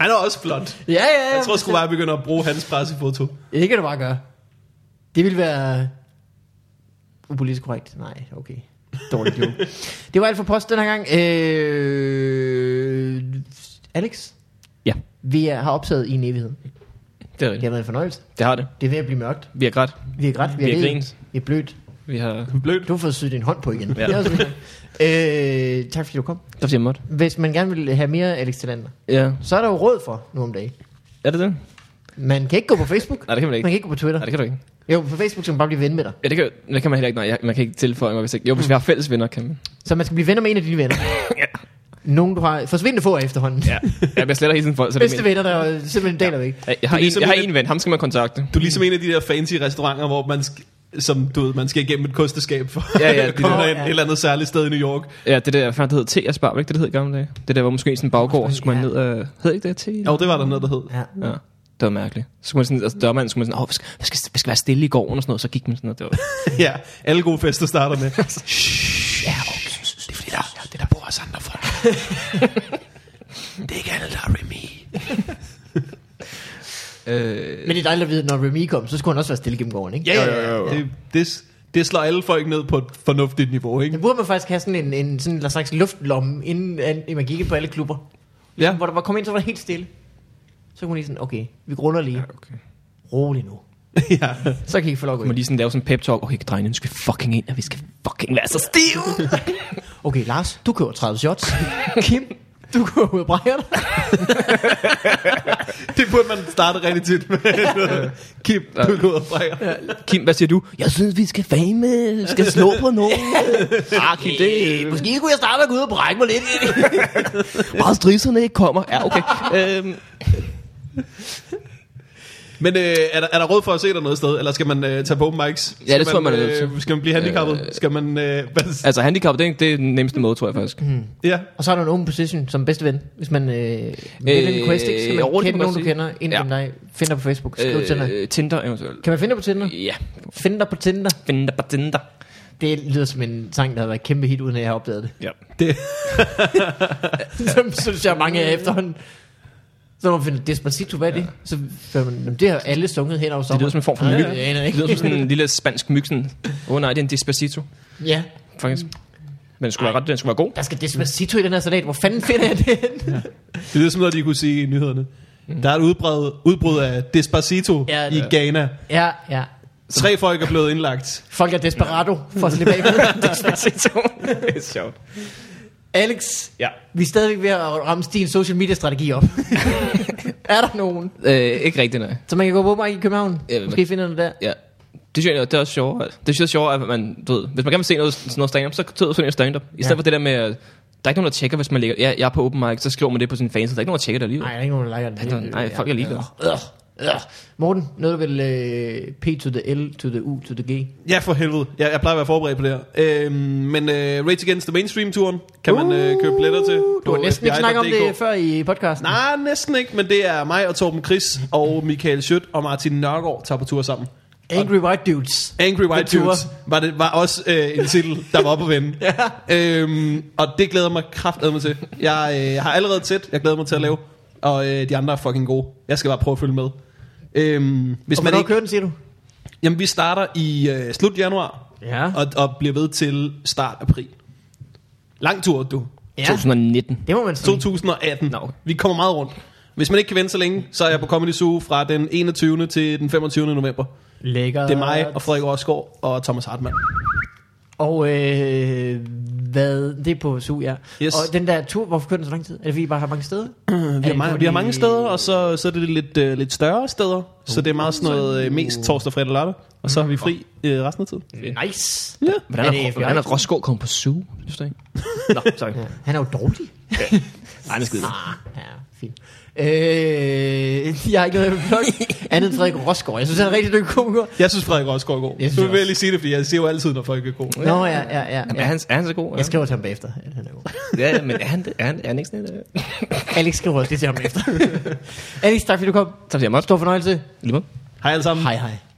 Han er også flot. ja, ja, ja. Jeg tror sgu bare, jeg begynder at bruge hans pressefoto. Det kan du bare gøre. Det ville være upolitisk korrekt. Nej, okay. Dårligt jo. det var alt for post den her gang. Øh, Alex, Ja, vi er, har optaget i en evighed. det er Det rigtigt. har været en fornøjelse. Det har det. Det er ved at blive mørkt. Vi har grædt. Vi er grædt, vi Vi er har ledet, grint. vi er blødt. Vi har... Blødt. Du har fået syet din hånd på igen. Ja. Det er også vildt. øh, tak fordi du kom. Der siger måtte. Hvis man gerne vil have mere Alex Talander, Ja. så er der jo råd for nu om dagen. Er det det? Man kan ikke gå på Facebook. Nej, det kan man ikke. Man kan ikke gå på Twitter. Nej, det kan du ikke. Jo, på Facebook skal man bare blive ven med dig. Ja, det kan, det kan man heller ikke. Nej, jeg, man kan ikke tilføje mig, hvis ikke... Jo, hvis vi har fælles venner, kan man. Så man skal blive venner med en af dine venner. Nogen, du har forsvindende få af efterhånden. Ja. Ja, jeg sletter hele tiden folk, så det Bedste venner, der er simpelthen daler væk. Jeg, jeg, har Du er ligesom en, jeg har en- en ven, ham skal man kontakte. Du er ligesom en af de der fancy restauranter, hvor man sk- som du ved, man skal igennem et kosteskab for Ja, ja, at det komme der. derind et eller andet særligt sted i New York. Ja, det der, fandt, det hed T. Asbar, var det ikke det, det hed i gamle dage? Det der var måske sådan en baggård, så skulle man Ja. ned og... Hed ikke det T? Jo, det var der noget, der hed. Ja. Ja, det var mærkeligt. Så skulle man sådan, altså dørmanden skulle man sådan, åh, vi skal, vi skal, vi skal være stille i gården og sådan noget, så gik man sådan, og det var, Ja, alle gode fester starter med. ja, okay, det er fordi, der, det der bor os andre folk. det er ikke alle, der er Remy. øh, Men det er dejligt at vide, at når Remy kom, så skulle han også være stille gennem gården, ikke? Ja, ja, ja. Det, det, det slår alle folk ned på et fornuftigt niveau, ikke? Men burde man faktisk have sådan en, en sådan en slags luftlomme, inden an- man gik ind på alle klubber? Ja. Hvor der var kom ind, så var det helt stille. Så kunne man lige sådan, okay, vi grunder lige. okay. Rolig nu. ja. Så kan I få lov at gå Må ind. lige sådan lave sådan en pep talk, okay, drenge, nu skal vi fucking ind, og vi skal fucking være så stive. Okay, Lars, du køber 30 shots. Kim, du køber ud af brækkerne. Det burde man starte rigtig tit med. Kim, du går ud og brækker. Kim, hvad siger du? Jeg synes, vi skal fame, skal slå på nogen. ah, Kim, det er Måske skulle jeg starte med at gå ud og brække mig lidt. bare strisserne ikke kommer. Ja, okay. øhm, Men øh, er, der, er der råd for at se dig noget sted, eller skal man øh, tage på open mics? Skal Ja, det tror jeg, man er nødt øh, til. Skal man blive handicappet? Øh, skal man... Øh, hvad, altså, handicap, det er, det er den nemmeste måde, tror jeg faktisk. ja. Og så er der en open position som bedste ven. Hvis man øh, vil Øh, en quest, ikke? skal man roligt, kende må man nogen, du sige. kender, inden Ja. ja. dig finder på Facebook. Skriv øh, til dig. Øh, Tinder eventuelt. Kan man finde dig på Tinder? Ja, Finde dig på Tinder. Tinder på Tinder. Det lyder som en sang, der har været et kæmpe hit, uden at jeg har opdaget det. Ja. Det, Som synes jeg mange af efterhånden. Så når man finder Despacito, hvad er det? Så finder man, "Jamen, det har alle sunget hen over Det sommeren. lyder som en form for Ja, myg. ja, jeg aner Det ikke. lyder som sådan en lille spansk myg. Åh oh, nej, det er en Despacito, Ja, faktisk. Men den skulle være, ret, den skulle være god. der skal Despacito i den her salat. Hvor fanden finder jeg det hen? det lyder som noget, de kunne sige i nyhederne. Der er et udbrud, udbrud af Despacito Ja, ja, det i er. Ghana. Ja, ja. Tre folk er blevet indlagt. Folk er desperado for at slippe af med Despacito. det er sjovt. Alex, Ja. vi er stadigvæk ved at ramme din social media strategi op. er der nogen? Øh, ikke rigtigt, nej. Så man kan gå på mig i København? Ja, men- Måske finder den der. Ja. Det synes jeg det er også sjovere. altså. Det synes jeg er sjovere, at man, du ved, hvis man gerne vil se noget, sådan noget stand-up, så tager sådan noget stand-up. I stedet Ja. for det der med, øh, der er ikke nogen, der tjekker, hvis man ligger, ja, jeg er på open mic, så skriver man det på sin fans, så der er ikke nogen, der tjekker det alligevel. Nej, der er ikke nogen, der liker den. Nej, nej, folk er ligeglade. Øh, øh, øh. Morten, noget du vil øh, P to the L to the U to the G? Ja, for helvede. Jeg, jeg plejer at være forberedt på det her. Øhm, men øh, Rage Against the Mainstream-turen kan man øh, købe billetter til. Uh, Du har næsten ikke snakket om det før i podcasten. Nej, næsten ikke, men det er mig og Torben Chris og Michael Schødt og Martin Nørgaard tager på tur sammen. Angry White Dudes. Angry White På tur. Dudes var, det, var også øh, en titel, der var oppe at vende. ja. øhm, og det glæder jeg mig kraftedeme til. Jeg øh, har allerede tæt, jeg glæder mig til at lave, og øh, de andre er fucking gode. Jeg skal bare prøve at følge med. Øhm, hvis Og man hvornår ikke, kører den, siger du? jamen, vi starter i øh, slut januar, Ja. og, og bliver ved til start april. Lang tur, du. Ja, 2019. det må man sige. 2018. Nå, okay. Vi kommer meget rundt. Hvis man ikke kan vente så længe, så er jeg på Comedy Zoo fra den 21. til den 25. november. Lækker. Det er mig og Frederik Rosgaard og Thomas Hartmann. Og øh, hvad, det er på SU, ja. Yes. Og den der tur, hvorfor kører den så lang tid? Er det fordi, I bare har mange steder? Vi har, mange, vi har mange steder, og så, så er det lidt, øh, lidt større steder. Så det er meget sådan noget øh, Uh. mest torsdag, fredag og lørdag. Og så har vi fri øh, resten af tiden. Nice. Ja. Hvordan Er det er, FBI? hvordan er Roskov kommet på zoo? Synes du ikke? Nå, sorry. Nej, Han er jo dårlig. det er skide. Ah, ja, fint. Øh, jeg har ikke noget at plukke. Andet end Frederik Rosgaard. Jeg synes, han er en rigtig dygtig komiker. Jeg synes, Frederik Rosgaard er god. Jeg synes Nu vil også. jeg lige sige det, fordi jeg siger jo altid, når folk er gode. Nå, ja, ja, ja. Er ja. han, er han så god? Jeg skriver til ham bagefter. at Han er god. Ja, ja, men er han, det? er han, er han ikke sådan et... øh? Alex skriver også lige til ham bagefter. Alex, tak fordi du kom. Tak for det, Stor fornøjelse. Lige måde. Hej alle sammen. Hej, hej.